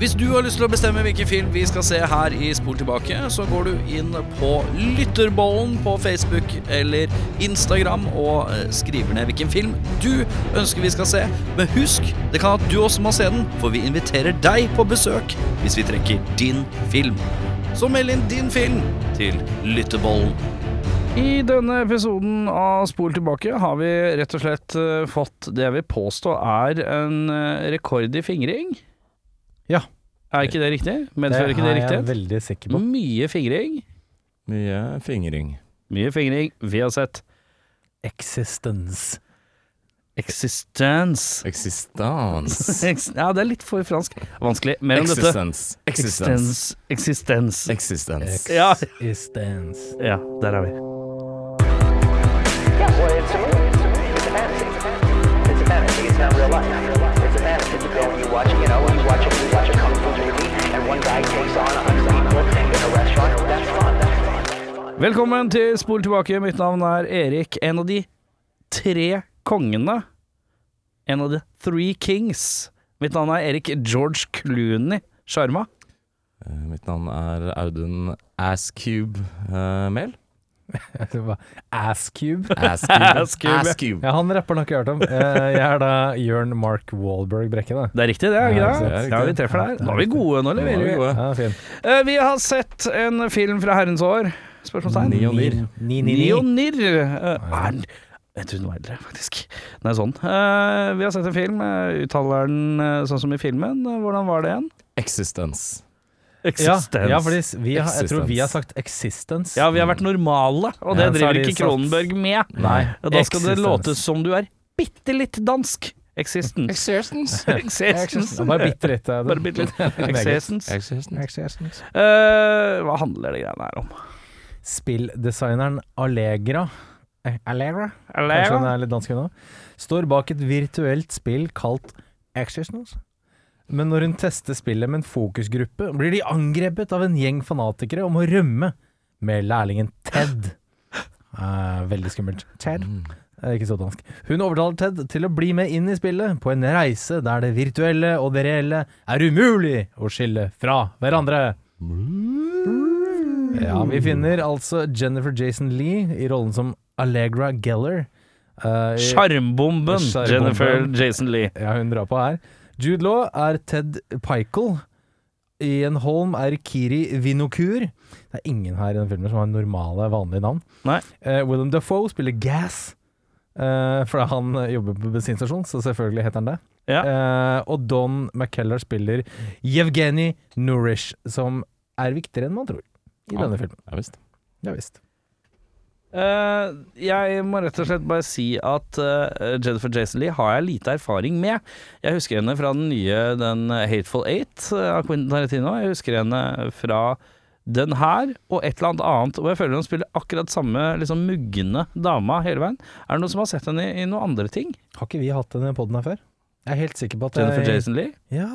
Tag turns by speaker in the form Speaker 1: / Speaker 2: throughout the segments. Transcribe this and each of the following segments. Speaker 1: Hvis du har lyst til å bestemme hvilken film vi skal se her i Spol tilbake, så går du inn på Lytterbollen på Facebook eller Instagram og eh, skriver ned hvilken film du ønsker vi skal se. Men husk, det kan at du også må se den, for vi inviterer deg på besøk hvis vi trekker din film. Så meld inn din film til Lytterbollen.
Speaker 2: I denne episoden av Spol tilbake har vi rett og slett eh, fått det jeg vil påstå er en eh, rekord i fingring.
Speaker 3: Ja.
Speaker 2: Er ikke det riktig? Medfører ikke det
Speaker 3: jeg
Speaker 2: riktighet?
Speaker 3: veldig sikker på.
Speaker 2: Mye fingring.
Speaker 4: Mye fingring.
Speaker 2: Mye fingring. Vi har sett
Speaker 3: Existence.
Speaker 2: Existence.
Speaker 4: Eksistens.
Speaker 2: Ex ja, det er litt for fransk. Vanskelig. Mer om dette.
Speaker 4: Eksistens. Eksistens.
Speaker 2: Existence. Existence.
Speaker 4: Eksistens.
Speaker 2: Ja.
Speaker 3: Existence.
Speaker 2: ja, der er vi.
Speaker 5: Yeah, well, it's a movie. It's a fantasy. It's a fantasy. It's not real life. It's a fantasy. You go and you watch, you know, you watch a, you watch a kung fu movie, and one guy takes on a hundred people in a restaurant. That's fun. That's fun.
Speaker 2: Velkommen til Spol tilbake. Mitt navn er Erik. En av de tre kongene. En av the three kings. Mitt navn er Erik George Clooney Sharma.
Speaker 4: Eh, Mitt navn er Audun Asscube uh, Mehl.
Speaker 3: Asscube.
Speaker 4: Asscube.
Speaker 2: Asscube, ja.
Speaker 3: Ja, han rapperen har ikke hørt om. Eh, Jeg er da Jørn Mark Wahlberg Brekke, da.
Speaker 2: Det er riktig, det. er ikke
Speaker 3: Ja,
Speaker 2: det?
Speaker 3: det
Speaker 4: er riktig.
Speaker 2: Ja, vi treffer der. Nå er vi gode. Nå leverer vi.
Speaker 4: Ja.
Speaker 3: Ja, fin.
Speaker 2: Eh, Vi har sett en film fra herrens år. Spørsmålstegn.
Speaker 4: Ni og nir.
Speaker 3: Ni, ni, ni.
Speaker 2: Nionir. Eh, Er den Jeg trodde den var eldre, faktisk. Den er sånn. Eh, Vi har sett en film. Eh, Uttaler den eh, sånn som i filmen? Eh, Hvordan var det igjen?
Speaker 4: Eksistens.
Speaker 3: Ja, ja, fordi vi har, jeg tror
Speaker 4: Existence.
Speaker 3: vi har sagt existence.
Speaker 2: Ja, vi har vært normale, og det
Speaker 3: Ja, så har
Speaker 2: driver
Speaker 3: de
Speaker 2: ikke
Speaker 3: satt-
Speaker 2: Kronenberg med.
Speaker 3: Nei.
Speaker 2: Og da skal det
Speaker 3: Existence.
Speaker 2: låte som du er bitte litt dansk. Existence.
Speaker 4: Eksistens.
Speaker 2: Existence.
Speaker 3: Ja, Bare bitte litt. eh,
Speaker 2: Bare bitte litt.
Speaker 3: Meget.
Speaker 2: Existence.
Speaker 4: Eksistens.
Speaker 3: Existence.
Speaker 2: Eh, hva handler det greiene her om?
Speaker 3: Spilldesigneren Allegra eh, Allegra? Kanskje hun
Speaker 2: Eller?
Speaker 3: er litt dansk nå. Står bak et virtuelt spill kalt Existence. Men når hun tester spillet med en fokusgruppe, blir de angrepet av en gjeng fanatikere om å rømme med lærlingen Ted. Eh, veldig skummelt. Ted.
Speaker 4: Mm.
Speaker 3: Eh, Ikke så dansk. Hun overtaler Ted til å bli med inn i spillet på en reise der det virtuelle og det reelle er umulig å skille fra hverandre. Ja, vi finner altså Jennifer Jason Lee i rollen som Allegra Geller. Eh, i-
Speaker 2: Sjarmbomben
Speaker 3: Sjarmbomben.
Speaker 2: Jennifer Jason Lee.
Speaker 3: ja, hun drar på her. Jude Law er Ted Pikel. Ian Holm er Kiri Vinokur. Det er ingen her i den filmen som har normale, vanlige navn.
Speaker 2: Nei.
Speaker 3: Eh, Willem Dafoe spiller Gas, eh, fordi han eh, jobber på bensinstasjon, så selvfølgelig heter han det.
Speaker 2: Ja.
Speaker 3: Eh, og Don McKellar spiller Yevgeny Nourish, som er viktigere enn man tror i
Speaker 4: Ja.
Speaker 3: denne filmen.
Speaker 4: Ja visst.
Speaker 3: Ja visst.
Speaker 2: Eh, jeg må rett og slett bare si at eh, Jennifer Jason Lee har jeg lite erfaring med. Jeg husker henne fra den nye den Hateful Eight eh, av Quentin Tarantino. Jeg husker henne fra den her og et eller annet annet. Og jeg føler hun spiller akkurat samme liksom mugne dama hele veien. Er det noen som har sett henne i, i noen andre ting?
Speaker 3: Har ikke vi hatt denne poden her før? Jeg er helt sikker på at
Speaker 2: Jennifer
Speaker 3: jeg...
Speaker 2: Jason Lee?
Speaker 3: Ja,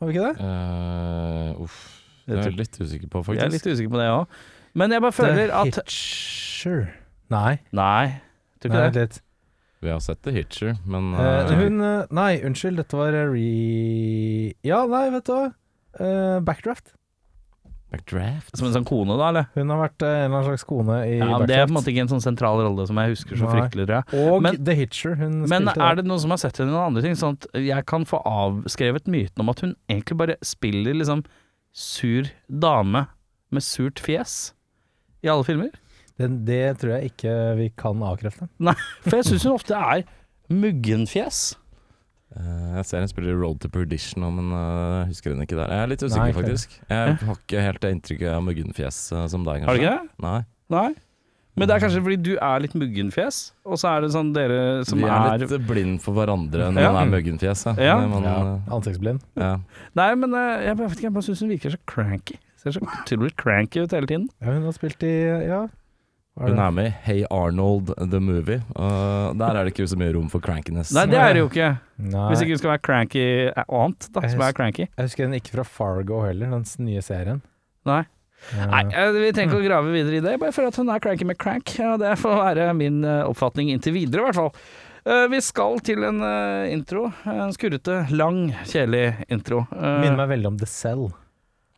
Speaker 3: har vi ikke det?
Speaker 4: Eh, uff. Det er jeg litt usikker på,
Speaker 2: Jeg er
Speaker 4: faktisk.
Speaker 2: litt usikker på det òg. Men jeg bare føler
Speaker 3: The
Speaker 2: at
Speaker 3: Hitcher. Nei,
Speaker 2: Nei, tror
Speaker 3: nei,
Speaker 2: ikke
Speaker 3: vent
Speaker 2: det.
Speaker 3: litt.
Speaker 4: Vi har sett The Hitcher, men
Speaker 3: Eh,
Speaker 4: eh,
Speaker 3: hun eh, Nei, unnskyld, dette var eh, re... Ja, nei, vet du hva. Eh, backdraft.
Speaker 4: Backdraft.
Speaker 2: Som en sånn kone, da, eller?
Speaker 3: Hun har vært eh, en eller annen slags kone i
Speaker 2: Ja, men
Speaker 3: Backdraft.
Speaker 2: det er på en måte ikke en sånn sentral rolle som jeg husker så
Speaker 3: Nei.
Speaker 2: fryktelig, tror jeg.
Speaker 3: Og
Speaker 2: Men-
Speaker 3: The Hitcher. Hun
Speaker 2: Men
Speaker 3: spilte
Speaker 2: er
Speaker 3: der.
Speaker 2: det noen som har sett henne i noen andre ting, sånn at jeg kan få avskrevet myten om at hun egentlig bare spiller liksom sur dame med surt fjes i alle filmer?
Speaker 3: Den, det tror jeg ikke vi kan avkrefte.
Speaker 2: Nei, for jeg syns hun ofte er muggenfjes.
Speaker 4: Eh, jeg ser hun spiller Road to Perdition nå, men eh, jeg husker hun ikke der. Jeg er litt
Speaker 3: Nei,
Speaker 4: usikker,
Speaker 3: ikke det.
Speaker 4: faktisk. Jeg har ikke helt det inntrykket av muggenfjes eh, som deg, kanskje.
Speaker 2: Har du ikke det?
Speaker 4: Nei.
Speaker 2: Nei. Men det er kanskje fordi du er litt muggenfjes, og så er det sånn dere som
Speaker 4: Vi er
Speaker 2: er,
Speaker 4: litt eh, blind for hverandre når
Speaker 2: Ja.
Speaker 4: man er muggenfjes. Ja.
Speaker 2: Ja.
Speaker 4: Men,
Speaker 3: Ja,
Speaker 4: eh,
Speaker 3: Ansiktsblind.
Speaker 4: ja.
Speaker 2: Nei, men eh, jeg bare vet ikke, jeg bare syns hun virker så cranky. Ser så utrolig cranky ut hele tiden.
Speaker 3: Ja, hun har spilt i Ja. Hva
Speaker 4: Hun
Speaker 3: det?
Speaker 4: er med i Hey Arnold The Movie. og der er det ikke så mye rom for crankiness.
Speaker 2: Nei, det er det jo ikke.
Speaker 3: Nei.
Speaker 2: Hvis ikke hun skal være cranky eh, annet, da, som er cranky.
Speaker 3: Jeg husker den ikke fra Fargo heller, den s- nye serien.
Speaker 2: Nei.
Speaker 3: Eh,
Speaker 2: Nei, eh, vi trenger ikke å grave videre i det. Bare for at hun er cranky med crank. Ja, det får være min eh, oppfatning inntil videre, i hvert fall. Eh, vi skal til en eh, intro. En skurrete, lang, kjedelig intro. Eh,
Speaker 3: Minner meg veldig om The Cell.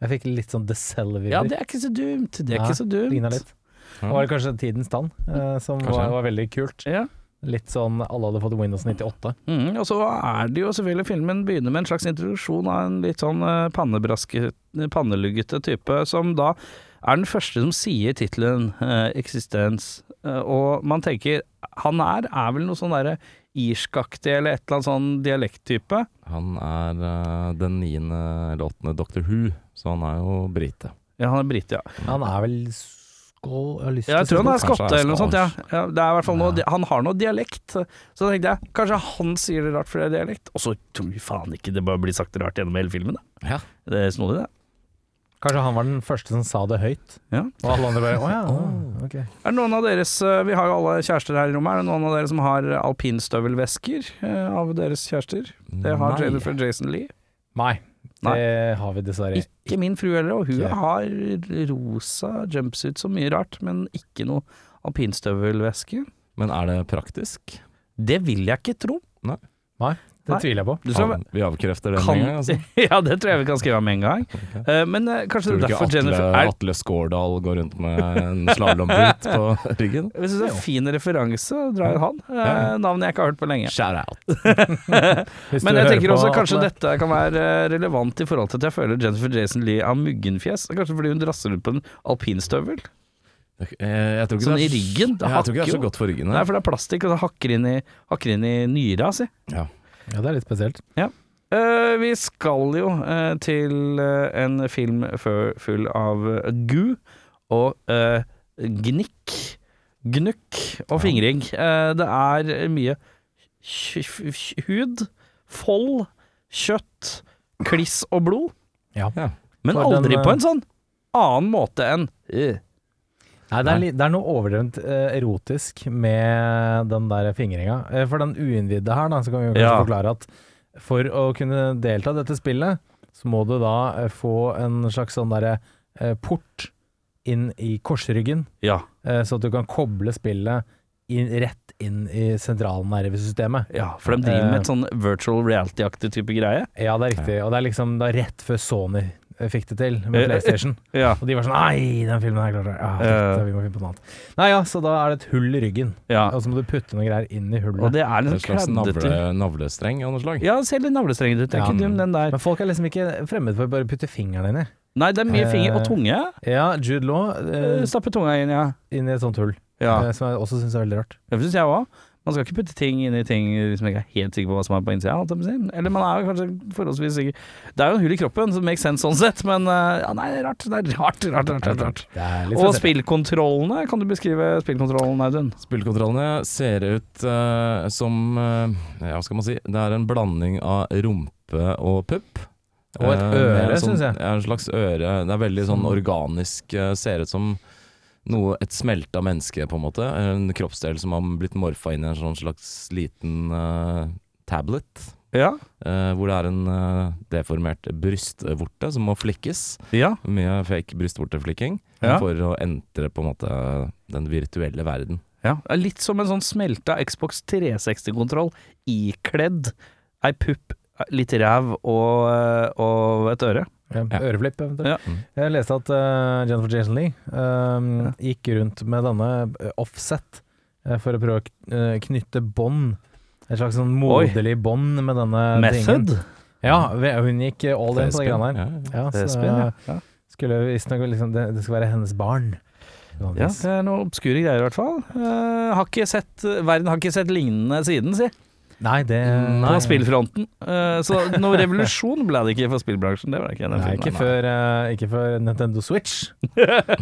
Speaker 3: Jeg fikk litt sånn The Cell-vibber.
Speaker 2: ja, det er ikke så dumt. Det er
Speaker 3: Nei,
Speaker 2: ikke så dumt.
Speaker 3: lignet litt. Det var kanskje Tidens Tann, eh, som
Speaker 4: Kanskje.
Speaker 3: var, var veldig kult.
Speaker 2: Ja.
Speaker 3: Litt sånn alle hadde fått Windows 98.
Speaker 2: Mm, og så er det jo selvfølgelig filmen begynner med en slags introduksjon av en litt sånn eh, pannebraske- panneluggete type, som da er den første som sier tittelen eh, 'Eksistens'. Eh, og man tenker Han er, er vel noe sånn derre irskaktig eller et eller annet sånn dialekttype.
Speaker 4: Han er eh, den niende eller åttende Doctor Who, så han er jo brite.
Speaker 2: Ja, han er brite, ja.
Speaker 3: Han er vel skål Jeg har lyst
Speaker 2: Ja, jeg tror han er
Speaker 4: Kanskje
Speaker 2: skotte eller noe sånt. Ja.
Speaker 4: er
Speaker 2: Ja, det er i hvert fall noe, Han har noe dialekt. Så da tenkte jeg kanskje han sier det rart for det er dialekt. Og så tror vi faen ikke det bare blir sagt rart gjennom hele filmen. Da.
Speaker 4: Ja.
Speaker 2: Det er snodig, det.
Speaker 3: Kanskje han var den første som sa det høyt.
Speaker 2: Ja.
Speaker 3: Og alle andre bare Å ja, å, ok.
Speaker 2: Er det noen av deres eh, Vi har jo alle kjærester her i rommet. Er det noen av dere som har alpinstøvelvesker eh, av deres kjærester? Det har
Speaker 4: Nei.
Speaker 2: Jennifer Jason Lee.
Speaker 3: Nei, det
Speaker 2: Nei.
Speaker 3: har vi dessverre.
Speaker 2: Ikke min frue heller, og hun
Speaker 3: Ikke.
Speaker 2: har rosa jumpsuit så mye rart, men ikke noe alpinstøvelveske.
Speaker 4: Men er det praktisk?
Speaker 2: Det vil jeg ikke tro.
Speaker 3: Det tviler jeg på.
Speaker 2: Du skal,
Speaker 4: Han- vi avkrefter det
Speaker 2: Kan-
Speaker 4: med en gang. Altså.
Speaker 2: ja, det tror jeg vi kan skrive om en gang.
Speaker 4: Ok.
Speaker 2: Eh, men eh, kanskje
Speaker 4: Tror
Speaker 2: det er
Speaker 4: du ikke
Speaker 2: derfor
Speaker 4: Atle,
Speaker 2: Jennifer er,
Speaker 4: Atle Skårdal går rundt med en slalåmbit på ryggen?
Speaker 2: Jeg synes det er en fin referanse å dra i han. Eh, Navnet jeg ikke har hørt på lenge.
Speaker 4: Shout out.
Speaker 3: Hvis
Speaker 2: Men
Speaker 3: du
Speaker 2: jeg
Speaker 3: hører
Speaker 2: tenker
Speaker 3: på,
Speaker 2: også kanskje
Speaker 3: Atle.
Speaker 2: dette kan være eh, relevant i forhold til at jeg føler Jennifer Jason Lee har muggenfjes. Kanskje fordi hun drasser rundt på en alpinstøvel?
Speaker 4: Jeg, Eh, jeg tror ikke
Speaker 2: Sånn i
Speaker 4: det er,
Speaker 2: ryggen, det
Speaker 4: Ja, jeg tror
Speaker 2: hakker
Speaker 4: ikke det er
Speaker 2: jo.
Speaker 4: så godt for ryggen.
Speaker 2: Nei, for det er plastikk, og det hakker inn i, hakker inn i nyra si.
Speaker 4: Ja.
Speaker 3: Ja, det er litt spesielt.
Speaker 2: Eh, vi skal jo eh, til eh, en film fø- full av eh, gu og eh, gnikk, gnukk og fingring. Eh, det er mye kj- kj- hud, fold, kjøtt, kliss og blod.
Speaker 3: Ja.
Speaker 4: Ja.
Speaker 2: Men
Speaker 3: For
Speaker 2: aldri
Speaker 3: den, eh,
Speaker 2: på en sånn annen måte enn eh,
Speaker 3: Nei, det er, li- det er noe overdrevent eh, erotisk med den der fingringa. Eh, for den uinnvidde her, da, så kan vi jo kanskje
Speaker 2: Ja.
Speaker 3: forklare at for å kunne delta i dette spillet, så må du da eh, få en slags sånn derre eh, port inn i korsryggen,
Speaker 2: Ja.
Speaker 3: eh, så at du kan koble spillet inn, rett inn i sentralnervesystemet.
Speaker 2: Ja, for de
Speaker 3: Eh.
Speaker 2: driver med et sånn virtual reality-aktig type greie.
Speaker 3: Ja, det er riktig. Og det er liksom da rett før Sony eh, fikk det til
Speaker 2: Eh, eh,
Speaker 3: med PlayStation.
Speaker 2: Ja,
Speaker 3: Og de var sånn Nei, den filmen her klarte jeg. Ah,
Speaker 2: Ja.
Speaker 3: shit, vi må finne på noe annet. Nei ja, så da er det et hull i ryggen.
Speaker 2: ja.
Speaker 3: Og så må du putte noen greier inn i
Speaker 2: Og
Speaker 3: hullet.
Speaker 2: det er en
Speaker 4: En
Speaker 2: sånn
Speaker 4: slags
Speaker 2: kladdete
Speaker 4: navle, navlestreng av noe slag.
Speaker 2: Ja, se litt navlestrengen ut. Det er
Speaker 3: Ja.
Speaker 2: ikke dum, den der.
Speaker 3: Men folk er liksom ikke fremmed for å bare putte fingeren inni.
Speaker 2: Nei, det er mye
Speaker 3: Eh,
Speaker 2: finger og tunge.
Speaker 3: Ja, Jude Law
Speaker 2: Eh,
Speaker 3: eh,
Speaker 2: Stappe tunga inn, ja.
Speaker 3: inn i et sånt hull,
Speaker 2: ja.
Speaker 3: eh, som jeg også syns er veldig rart.
Speaker 2: Det syns jeg òg. Man skal ikke putte ting inn i ting som jeg ikke er helt sikker på hva som er på innsida. holdt jeg på å si. Eller man er jo kanskje forholdsvis sikker. Det er jo en hull i kroppen, som makes sense sånn sett, men eh, ja, nei, det er rart. Det er rart, rart, rart. rart, rart.
Speaker 3: Det er litt
Speaker 2: Og
Speaker 3: spesielt.
Speaker 2: spillkontrollene. Kan du beskrive spillkontrollen, Audun?
Speaker 4: Spillkontrollene ser ut eh, som eh, Ja, hva skal man si? Det er en blanding av rumpe og pupp.
Speaker 3: Og et
Speaker 4: Eh,
Speaker 3: øre,
Speaker 4: med sånn,
Speaker 3: synes jeg.
Speaker 4: Ja, en slags øre. Det er veldig sånn
Speaker 3: Mm.
Speaker 4: organisk. eh, ser ut som noe, et smelta menneske, på en måte. En kroppsdel som har blitt morfa inn i en sånn slags liten eh, tablet.
Speaker 2: Ja.
Speaker 4: eh, hvor det er en eh, deformert brystvorte som må flikkes.
Speaker 2: Ja.
Speaker 4: Mye fake brystvorteflikking
Speaker 2: Ja.
Speaker 4: for å entre på en måte den virtuelle verden.
Speaker 2: ja. Det er Litt som en sånn smelta Xbox 360-kontroll ikledd ei pupp, litt ræv og, eh, og et øre.
Speaker 3: Ja, Øreflipp, eventuelt. Mm.
Speaker 2: Ja.
Speaker 3: Jeg leste at eh, Jennifer Jason Lee eh, gikk rundt med denne eh, offset eh, for å prøve å kn- eh, knytte bånd. Et slags sånn
Speaker 2: Oi.
Speaker 3: moderlig bånd med denne tingen.
Speaker 2: Method.
Speaker 3: Ja, ve- hun gikk eh, all in på de greiene der.
Speaker 4: Ja, ja.
Speaker 3: Ja, så,
Speaker 2: Det er spennende. Ja.
Speaker 3: skulle visstnok liksom, det, det skal være hennes barn.
Speaker 2: Ja, det er noen obskure greier i hvert fall. Eh, har ikke sett, verden har ikke sett lignende siden, si.
Speaker 3: Eh, Nei, det
Speaker 2: På spillfronten. Eh, så noen revolusjon ble det ikke for spillbransjen. Det var det ikke. i Den
Speaker 3: Nei,
Speaker 2: filmen.
Speaker 3: ikke før, eh, ikke før Nintendo Switch.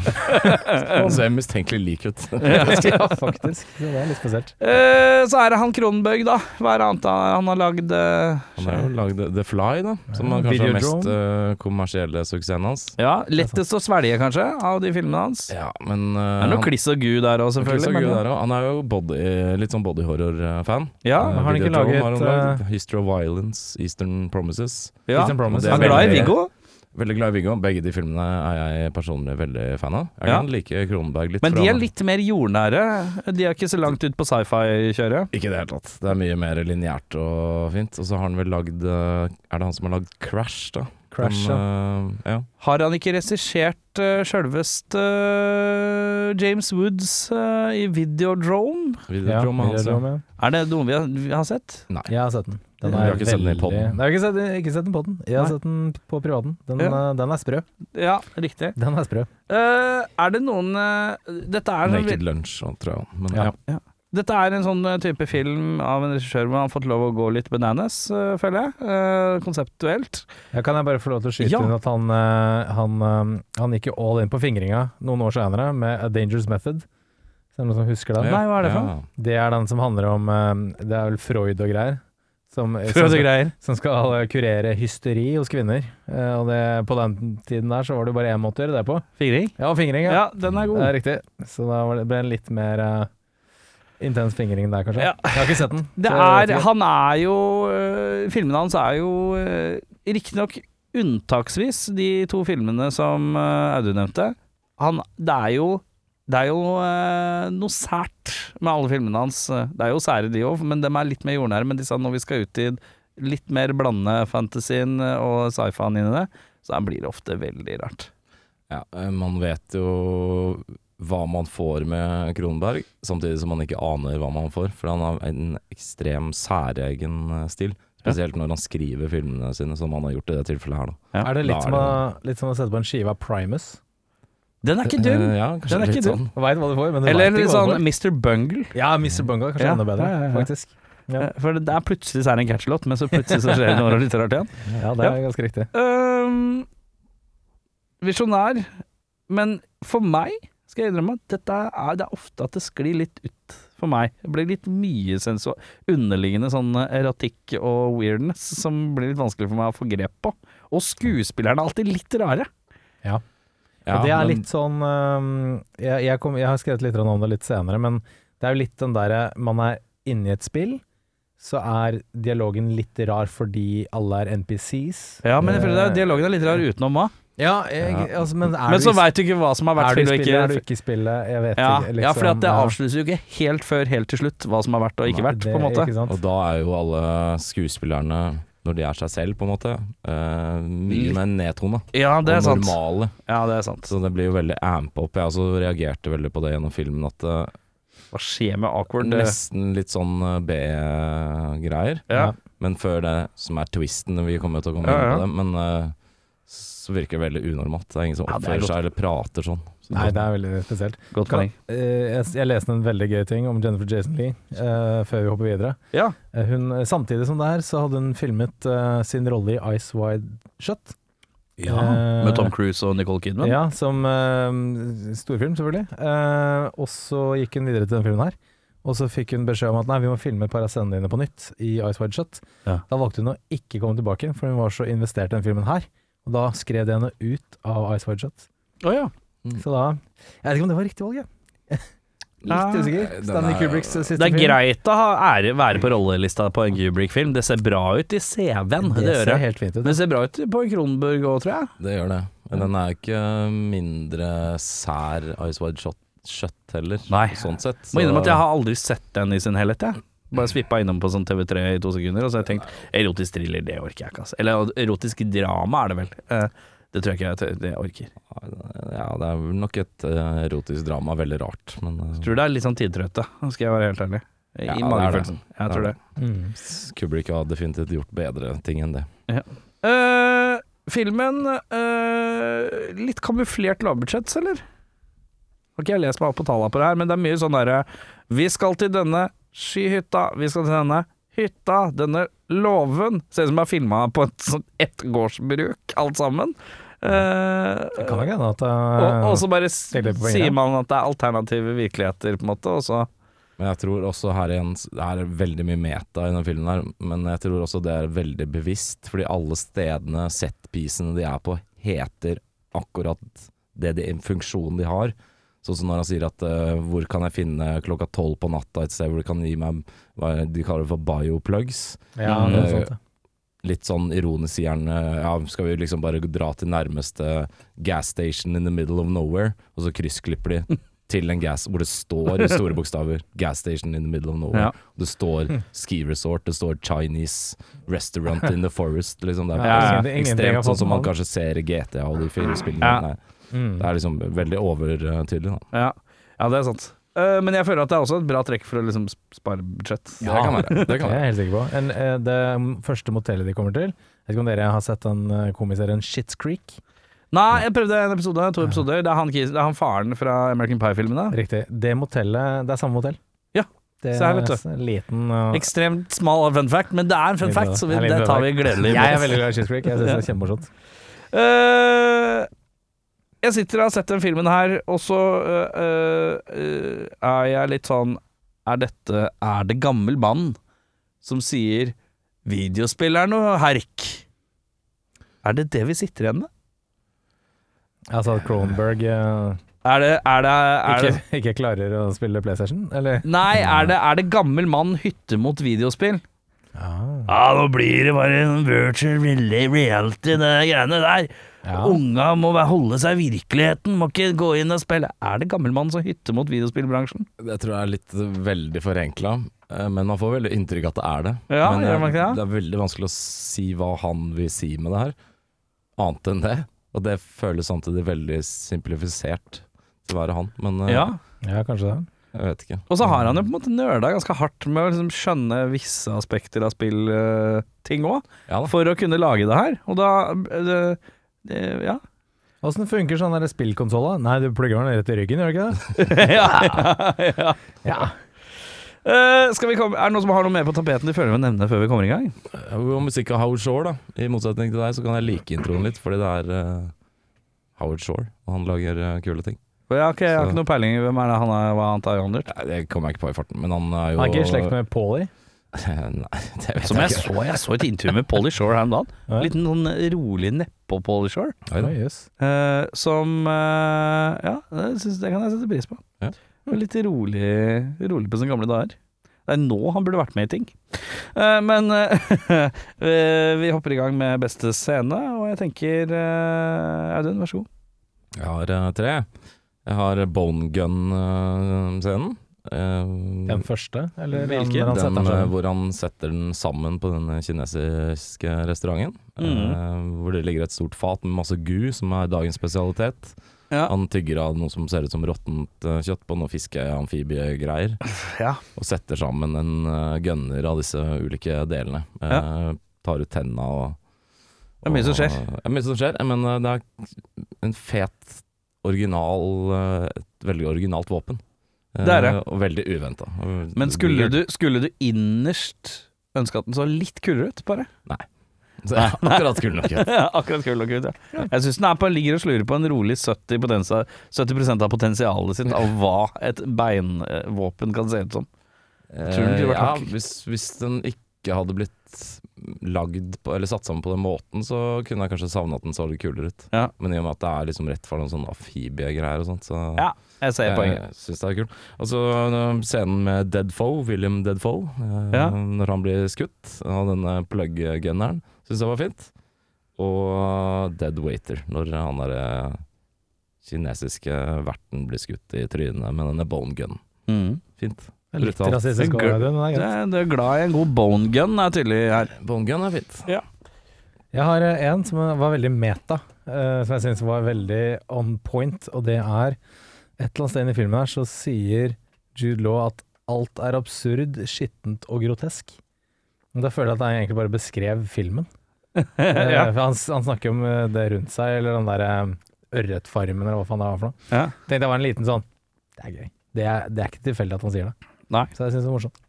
Speaker 4: Hun ser mistenkelig lik ut.
Speaker 3: ja, faktisk. Så det er litt spesielt.
Speaker 2: Eh, så er det han Kronenbøg, da. Hva er det annet han- han har lagd? eh,
Speaker 4: Han har jo lagd The Fly, da, som
Speaker 3: Ja,
Speaker 4: er kanskje den
Speaker 3: Videodrome.
Speaker 4: mest eh, kommersielle suksessen hans.
Speaker 2: ja, lettest å svelge, kanskje, av de filmene hans. Det
Speaker 4: Ja, men eh,
Speaker 2: er noe
Speaker 4: han-
Speaker 2: kliss og gu der òg,
Speaker 4: han er
Speaker 2: selvfølgelig.
Speaker 4: så
Speaker 2: men-
Speaker 4: gud der også. Han er jo body, litt sånn bodyhorror-fan.
Speaker 2: ja,
Speaker 4: Eh,
Speaker 3: har han ikke
Speaker 4: Videodrome
Speaker 3: laget,
Speaker 4: har han lagd. History of Violence, Eastern Promises.
Speaker 2: ja.
Speaker 3: Ethan Promise
Speaker 4: det
Speaker 2: Han er
Speaker 4: veldig-
Speaker 2: glad i Viggo.
Speaker 4: Veldig glad i Viggo. Begge de filmene er jeg personlig veldig fan av. Jeg
Speaker 2: Ja.
Speaker 4: kan like Kronenberg litt.
Speaker 2: Men
Speaker 4: for
Speaker 2: de er
Speaker 4: han-
Speaker 2: litt mer jordnære. De er ikke så langt ut på sci-fi-kjøret.
Speaker 4: Ikke i det hele tatt. Det er mye mer lineært og fint. Og så har han vel lagd eh, Er det han som har lagd Crash, da?
Speaker 3: Crash, ja.
Speaker 4: Den, eh, ja.
Speaker 2: Har han ikke regissert uh, sjølvest eh, James Woods eh, i Videodrome?
Speaker 4: Videodrom
Speaker 3: Ja,
Speaker 4: er hans, ja.
Speaker 3: Videodrome, ja.
Speaker 2: Er det noe vi har, vi har sett?
Speaker 4: Nei.
Speaker 3: Jeg har sett den. den
Speaker 4: Vi har ikke sett den i podden.
Speaker 3: Nei, jeg har ikke sett, ikke sett den på den. Jeg har
Speaker 2: Nei.
Speaker 3: sett den på privaten. Den,
Speaker 2: Ja.
Speaker 3: eh, den er sprø.
Speaker 2: Ja, riktig.
Speaker 3: Den er sprø.
Speaker 2: Eh, er det noen eh, dette, er sånn,
Speaker 4: Naked Lunch, og tror jeg. Men,
Speaker 3: Ja.
Speaker 4: ja.
Speaker 2: dette er en sånn eh, type film av en regissør hvor han har fått lov å gå litt bananas, eh, føler jeg. eh, konseptuelt.
Speaker 3: Ja, kan jeg bare få lov til å skyte
Speaker 2: Ja.
Speaker 3: inn at han, eh, han, eh, han gikk jo all in på fingringa noen år senere med A Dangerous Method. Så er det noen som husker den?
Speaker 2: Nei, hva er det for
Speaker 4: Ja.
Speaker 3: Det er den som handler om eh, Det er vel Freud og greier. Som, som,
Speaker 2: Frøde
Speaker 3: skal,
Speaker 2: greier.
Speaker 3: som skal eh, kurere hysteri hos kvinner. Eh, og det, på den tiden der så var det jo bare én måte å gjøre det på.
Speaker 2: Fingring?
Speaker 3: Ja, fingring, ja.
Speaker 2: Ja, den er
Speaker 3: Det
Speaker 2: god.
Speaker 3: er riktig. Så da var det, ble det litt mer eh, intens fingring der, kanskje.
Speaker 2: Ja.
Speaker 3: Jeg har ikke sett den.
Speaker 2: Det
Speaker 3: så jeg vet
Speaker 2: er,
Speaker 3: ikke.
Speaker 2: han er jo øh, Filmene hans er jo øh, riktignok unntaksvis de to filmene som øh, Audun nevnte. Han, det er jo, det er jo øh, noe sært med alle filmene hans. Det er jo sære de òg, men dem er litt mer jordnære. Men disse når vi skal ut i litt mer blande fantasien eh, og sci-fien inn i det, så blir det ofte veldig rart.
Speaker 4: Ja, eh, man vet jo hva man får med Kronenberg, samtidig som man ikke aner hva man får, for han har en ekstrem særegen eh, stil. Spesielt når han skriver filmene sine, som han har gjort i det tilfellet her. Da.
Speaker 3: Er det
Speaker 4: Da
Speaker 3: litt,
Speaker 4: er
Speaker 3: som
Speaker 4: det
Speaker 3: å, litt som å sette på en skive av Primus?
Speaker 2: Den er ikke dum!
Speaker 4: Eh, Ja, kanskje
Speaker 2: Den er
Speaker 4: litt
Speaker 2: ikke dum.
Speaker 4: sånn.
Speaker 3: Veit hva du får, men du
Speaker 2: Eller
Speaker 3: vet
Speaker 2: litt
Speaker 3: ikke hva
Speaker 2: sånn
Speaker 3: du får.
Speaker 2: Mr. Bungle.
Speaker 3: Ja, Mr. Bungle er kanskje
Speaker 2: Ja,
Speaker 3: enda bedre,
Speaker 2: ja, ja, ja.
Speaker 3: faktisk. Ja.
Speaker 2: For det er plutselig så er det en catchlåt, men så plutselig så skjer det noe litt rart igjen.
Speaker 3: Ja, det er ganske riktig.
Speaker 2: Øhm, Visjonær. Men for meg skal jeg innrømme at dette er, det er ofte at det sklir litt ut for meg. Det blir litt mye sensu underliggende sånn erotikk og weirdness som blir litt vanskelig for meg å få grep på. Og skuespillerne er alltid litt rare.
Speaker 4: Ja,
Speaker 3: og det er
Speaker 4: men-
Speaker 3: litt sånn øhm, jeg, jeg, kom, jeg har skrevet litt om det litt senere, men det er jo litt den derre man er inni et spill, så er dialogen litt rar fordi alle er NPCs.
Speaker 2: Ja, men jeg føler det er- dialogen er litt rar utenom òg.
Speaker 3: Eh, Ja, jeg, altså, men er
Speaker 2: Men
Speaker 3: du
Speaker 2: så
Speaker 3: i-
Speaker 2: veit du ikke hva som har vært
Speaker 3: er du i
Speaker 2: spill og
Speaker 3: spillet, er du
Speaker 2: ikke.
Speaker 3: ikke i spillet, jeg vet
Speaker 2: Ja,
Speaker 3: ikke.
Speaker 2: liksom?
Speaker 3: liksom,
Speaker 2: ja for det
Speaker 3: ja.
Speaker 2: avsluttes jo ikke helt før helt til slutt hva som har vært og ikke
Speaker 4: Nei,
Speaker 2: vært, på en
Speaker 3: Det-
Speaker 2: måte.
Speaker 3: Ikke sant?
Speaker 4: Og da er jo alle skuespillerne, når de er seg selv, på en måte, eh, mye mer nedtona.
Speaker 2: Ja, det er
Speaker 4: og
Speaker 2: sant.
Speaker 4: normale.
Speaker 2: Ja, det er sant.
Speaker 4: Så det blir jo veldig amp up. Jeg også reagerte veldig på det gjennom filmen, at eh, det
Speaker 2: Hva skjer med awkward?
Speaker 4: Nesten litt sånn eh, B-greier.
Speaker 2: Ja.
Speaker 4: Men før det som er twisten, vi kommer jo til å komme
Speaker 2: Ja,
Speaker 4: inn
Speaker 2: ja.
Speaker 4: på det, men eh, så virker det veldig unormalt. Det er ingen som
Speaker 2: Ja, det er
Speaker 4: oppfører
Speaker 2: godt.
Speaker 4: seg eller prater sånn. Så
Speaker 3: Nei, det er veldig spesielt.
Speaker 2: Godt
Speaker 3: Kan-
Speaker 2: poeng.
Speaker 3: Eh, jeg, jeg leste en veldig gøy ting om Jennifer Jason Lee eh, før vi hopper videre.
Speaker 2: Ja.
Speaker 3: Eh, Hun, samtidig som det her, så hadde hun filmet eh, sin rolle i Ice Wide Shut. Eh,
Speaker 2: Med Tom Cruise og Nicole Kidman?
Speaker 3: Ja, som eh, storfilm, selvfølgelig. Eh, og så gikk hun videre til denne filmen her. Og så fikk hun beskjed om at nei, vi må filme et par av scenene dine på nytt i Ice Wide Shut.
Speaker 2: Ja.
Speaker 3: Da valgte hun å ikke komme tilbake, for hun var så investert i denne filmen her. Og da skrev de henne ut av Ice Wide Shut.
Speaker 2: Å ja.
Speaker 3: Så da Jeg vet ikke om det var riktig valg, jeg. Ah. Litt usikker.
Speaker 4: Den
Speaker 3: Stanley
Speaker 4: er-
Speaker 3: Kubricks siste film.
Speaker 2: Det er greit å ha ære, være på rollelista på en Kubrick-film. Det ser bra ut i CV-en, det,
Speaker 3: Det
Speaker 2: gjør
Speaker 3: ser
Speaker 2: det.
Speaker 3: helt fint ut.
Speaker 2: Men det ser bra ut på Kronenburg òg, tror jeg.
Speaker 4: Det gjør det. Men den er jo ikke eh, mindre sær Ice Wide Shot. Kjøtt heller,
Speaker 2: Nei.
Speaker 4: sånn sett.
Speaker 2: Må innrømme at jeg
Speaker 4: har
Speaker 2: har aldri sett den i sin helhet, jeg. Bare svippa innom på sånn TV3 i to sekunder, og så har jeg tenkt erotisk thriller, det orker jeg ikke, altså. Eller erotisk drama er det vel. Eh, Det tror jeg ikke jeg tør- det jeg orker.
Speaker 4: Ja, det er vel nok et eh, erotisk drama. Veldig rart, men eh,
Speaker 2: Tror det er litt sånn tidtrøtte, skal jeg være helt ærlig. I
Speaker 4: Ja, det er
Speaker 2: magefølelsen.
Speaker 4: det.
Speaker 2: Jeg tror
Speaker 4: Det er
Speaker 2: det.
Speaker 3: Mm.
Speaker 4: Kubrick har definitivt gjort bedre ting enn det.
Speaker 2: Eh, filmen eh, Litt kamuflert lavbudsjett, eller? Har ikke jeg lest meg opp på tallene på det her, men det er mye sånn derre Vi skal til denne skyhytta, vi skal til denne hytta, denne låven Ser ut som jeg har filma på et sånt ettgårdsbruk, alt sammen. Eh,
Speaker 3: Det kan jo hende at eh,
Speaker 2: og, og så bare s-
Speaker 3: Tenk litt på poenget.
Speaker 2: sier man at det er alternative virkeligheter, på en måte, og så
Speaker 4: Men jeg tror også her igjen Det er veldig mye meta i denne filmen her, men jeg tror også det er veldig bevisst, fordi alle stedene, setpisene de er på, heter akkurat det de, funksjonen de har. Sånn som når han sier at eh, 'hvor kan jeg finne klokka tolv på natta et sted hvor du kan gi meg hva de kaller det for bioplugs'?
Speaker 3: Ja, noe sånt. ja.
Speaker 4: litt sånn ironisk sier han eh, ja, skal vi liksom bare dra til nærmeste gas station in the middle of nowhere, og så kryssklipper de til en gas hvor det står i store bokstaver 'gas station in the middle
Speaker 3: Oh.
Speaker 4: of nowhere'.
Speaker 2: Ja.
Speaker 4: Det
Speaker 2: Hmm.
Speaker 4: står ski resort, det står Chinese restaurant in the forest, liksom. Det
Speaker 2: Ja,
Speaker 4: er
Speaker 2: ja.
Speaker 4: liksom
Speaker 3: Ingenting- ingenting har
Speaker 4: ekstremt sånn
Speaker 3: fått
Speaker 4: som man
Speaker 3: navn.
Speaker 4: kanskje ser i GTA og de fire spillene.
Speaker 2: Ja.
Speaker 4: Nei,
Speaker 3: Mm.
Speaker 4: det er liksom veldig overtydelig, da.
Speaker 2: Ja, ja det er sant. Eh, men jeg føler at det er også et bra trekk for å liksom sp- spare budsjett.
Speaker 4: Ja. Det kan være. Det
Speaker 3: Det
Speaker 4: kan
Speaker 3: er
Speaker 4: være.
Speaker 3: jeg helt sikker på. En, eh, det første motellet de kommer til Jeg vet ikke om dere har sett den eh, komiserien Shits Creek?
Speaker 2: Nei, jeg prøvde en episode, to episoder. Det er han, kis- det er han faren fra American Pie-filmene.
Speaker 3: Riktig. Det motellet Det er samme motell.
Speaker 2: Ja.
Speaker 3: Det
Speaker 2: Se her,
Speaker 3: er
Speaker 2: vet du.
Speaker 3: en liten eh,
Speaker 2: Ekstremt smal fun fact, men det er en fun
Speaker 3: Litt bra.
Speaker 2: fact, så vi,
Speaker 3: Ja, litt
Speaker 2: det
Speaker 3: bra
Speaker 2: tar vi gledelig
Speaker 3: Jeg er
Speaker 2: med.
Speaker 3: veldig glad i Shits Creek. Jeg syns det er kjempemorsomt.
Speaker 2: Eh, jeg sitter og har sett den filmen her, og så eh, eh, er jeg litt sånn Er dette Er det gammel mann som sier 'videospill er noe herk'? Er det det vi sitter igjen med?
Speaker 3: Altså at Cronberg eh,
Speaker 2: Er det, er det, er det
Speaker 3: ikke, ikke klarer å spille PlayStation, eller?
Speaker 2: Nei, er det, er det gammel mann hytte mot videospill? Ja, nå blir det bare en virtual really reality, det greiene der.
Speaker 3: Ja.
Speaker 2: Unga må være- holde seg i virkeligheten, må ikke gå inn og spille. Er det gammel mann som hytter mot videospillbransjen?
Speaker 4: Jeg tror det er litt eh, veldig forenkla, eh, men man får veldig inntrykk av at det er det.
Speaker 2: Ja,
Speaker 4: men
Speaker 2: gjør
Speaker 4: jeg-
Speaker 2: man ikke det?
Speaker 4: det er veldig vanskelig å si hva han vil si med det her, annet enn det. Og det føles samtidig veldig simplifisert til å være han, men eh,
Speaker 3: Ja, kanskje det.
Speaker 4: jeg vet ikke.
Speaker 2: Og så har han jo på en måte nøla ganske hardt med å liksom skjønne visse aspekter av spillting òg,
Speaker 4: Ja da.
Speaker 2: for å kunne lage det her. Og da eh, det, Ja.
Speaker 3: Åssen funker sånn der spillkonsoll, da? Nei, du plugger den rett i ryggen, gjør du ikke det?
Speaker 2: ja, ja,
Speaker 3: Ja.
Speaker 2: Eh, skal vi komme, er det noen som har noe mer på tapeten de føler vi må nevne før vi kommer i gang?
Speaker 4: Og musikk av Howard Shore, da. I motsetning til deg, så kan jeg like introen litt, fordi det er eh, Howard Shore, og han lager eh, kule ting.
Speaker 2: For jeg har ikke, jeg har
Speaker 4: Så-
Speaker 2: ikke noe peiling i hvem er det han er, hva han tar i hånden
Speaker 4: Nei, Det kommer jeg ikke på i farten, men han er jo
Speaker 3: Han er ikke i slekt med Paulie?
Speaker 4: Nei, det vet
Speaker 2: Som jeg
Speaker 4: ikke.
Speaker 2: så, jeg så et intervju med Polly Shore her om dagen.
Speaker 3: Ja.
Speaker 2: Liten sånn rolig nedpå Polly Shore.
Speaker 4: Oi da.
Speaker 3: Oi, jøss.
Speaker 2: eh, som eh, Ja, det, synes, det kan jeg sette pris på.
Speaker 4: Ja.
Speaker 2: Og Litt rolig, rolig på sine gamle dager. Det er nå han burde vært med i ting. Eh, men eh, eh, vi hopper i gang med beste scene, og jeg tenker eh, Audun, vær så god.
Speaker 4: Jeg har eh, tre. Jeg har Bone eh, Gun-scenen.
Speaker 3: Den første, eller
Speaker 2: Hvilken?
Speaker 3: den, han
Speaker 4: den
Speaker 3: setter
Speaker 4: eh,
Speaker 3: seg
Speaker 4: hvor han setter den sammen på denne kinesiske restauranten. eh,
Speaker 2: Mhm.
Speaker 4: hvor det ligger et stort fat med masse gu, som er dagens spesialitet.
Speaker 2: Ja.
Speaker 4: Han tygger av noe som ser ut som råttent eh, kjøtt på noe fiskeamfibiegreier.
Speaker 2: Ja.
Speaker 4: Og setter sammen en eh, gunner av disse ulike delene. Eh, Tar ut tenna og
Speaker 2: Det er mye som
Speaker 4: og-
Speaker 2: skjer.
Speaker 4: Det er mye som skjer, men eh, det er en fet, original eh, Et veldig originalt våpen. Eh,
Speaker 2: Det er det.
Speaker 4: Og veldig uventa.
Speaker 2: Men skulle du, skulle du innerst ønske at den så litt kulere ut, bare?
Speaker 4: Så, ja, akkurat kul nok. ja.
Speaker 2: Ja, akkurat kul og kult, ja. Jeg syns den er på, ligger og slurer på en rolig 70, potensa- 70 av potensialet sitt av hva et beinvåpen kan se ut som. Tror du den kunne vært
Speaker 4: Eh, ja,
Speaker 2: hakket?
Speaker 4: hvis, hvis den ikke hadde blitt lagd på, eller satt sammen på den måten, så kunne jeg kanskje savna at den så litt kulere ut.
Speaker 2: Ja.
Speaker 4: Men i og med at det er liksom rett for noen sånne amfibiegreier og sånt, så
Speaker 2: Ja, jeg ser
Speaker 4: jeg,
Speaker 2: poenget.
Speaker 4: syns det er kult. Og så eh, scenen med Deadfoe, William Deadfoe, eh,
Speaker 2: Ja.
Speaker 4: når han blir skutt av denne plug-gunneren, syns jeg var fint. Og Dead Waiter, når han derre kinesiske verten blir skutt i trynet med denne bone gunnen.
Speaker 2: Mm.
Speaker 4: Fint.
Speaker 3: sammen. Litt
Speaker 4: brutalt.
Speaker 3: rasistisk
Speaker 2: En gul-
Speaker 3: over det, men det er
Speaker 2: Du
Speaker 3: greit.
Speaker 2: er, du er glad i en god bone gun, er tydelig her.
Speaker 4: Bone gun er fint.
Speaker 3: Jeg har eh, en som var veldig meta, eh, som jeg syns var veldig on point, og det er Et eller annet sted inn i filmen her så sier Jude Law at alt er absurd, skittent og grotesk. Men Da føler jeg at han egentlig bare beskrev filmen. Eh,
Speaker 2: ja.
Speaker 3: for han, s- han snakker om eh, det rundt seg, eller den derre ørretfarmen, eller hva faen det var for noe.
Speaker 2: Ja.
Speaker 3: Tenkte jeg var en liten sånn Det er gøy. Det er, det er ikke tilfeldig at han sier det.
Speaker 2: Nei.
Speaker 3: Så jeg syns det er morsomt.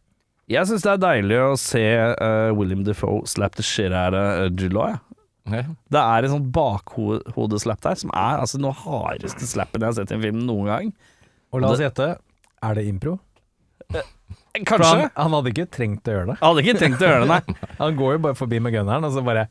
Speaker 2: Jeg syns det er deilig å se eh, William Defoe slap the shit out of eh, July.
Speaker 4: Ja.
Speaker 2: Det er en sånn bakhodeslapp der, som er altså den hardeste slappen jeg har sett i en film noen gang.
Speaker 3: Og la oss gjette, er det impro? For
Speaker 2: Kanskje.
Speaker 3: Han, han hadde ikke trengt å gjøre det.
Speaker 2: Jeg hadde ikke tenkt å gjøre det, nei.
Speaker 3: Han går jo bare forbi med gunneren, og så bare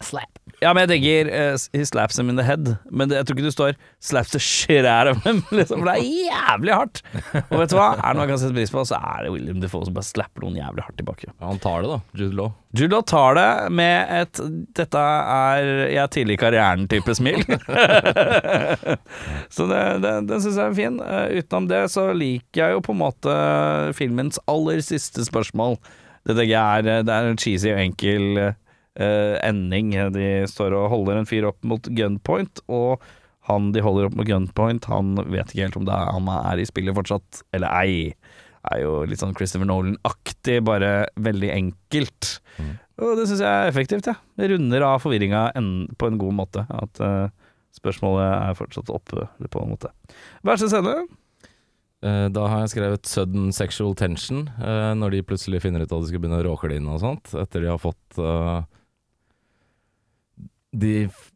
Speaker 3: Slap.
Speaker 2: Ja, men jeg tenker eh, He slaps them in the head, men det, jeg tror ikke du står Slaps the shit out of them, liksom, for det er jævlig hardt. Og vet du hva? Er det noe jeg kan sette pris på, så er det William Defoe som bare slapper noen jævlig hardt tilbake.
Speaker 4: Ja, han tar det, da. Jude Law.
Speaker 2: Jude Law tar det med et 'dette er jeg er tidlig i karrieren'-type smil. så det, det, den syns jeg er fin. Eh, utenom det så liker jeg jo på en måte filmens aller siste spørsmål. Det tenker jeg er, det er en cheesy og enkel eh, ending. De står og holder en fyr opp mot gunpoint, og han de holder opp mot gunpoint, han vet ikke helt om det er, han er i spillet fortsatt, eller ei. Er jo litt sånn Christopher Nolan-aktig, bare veldig enkelt. Og det syns jeg er effektivt, jeg. Ja. Det runder av forvirringa en- på en god måte. At eh, spørsmålet er fortsatt oppe, på en måte. Verste scene?
Speaker 4: Eh, Da har jeg skrevet 'sudden sexual tension', eh, når de plutselig finner ut at de skal begynne å råkline og sånt, etter de har fått eh, de, f-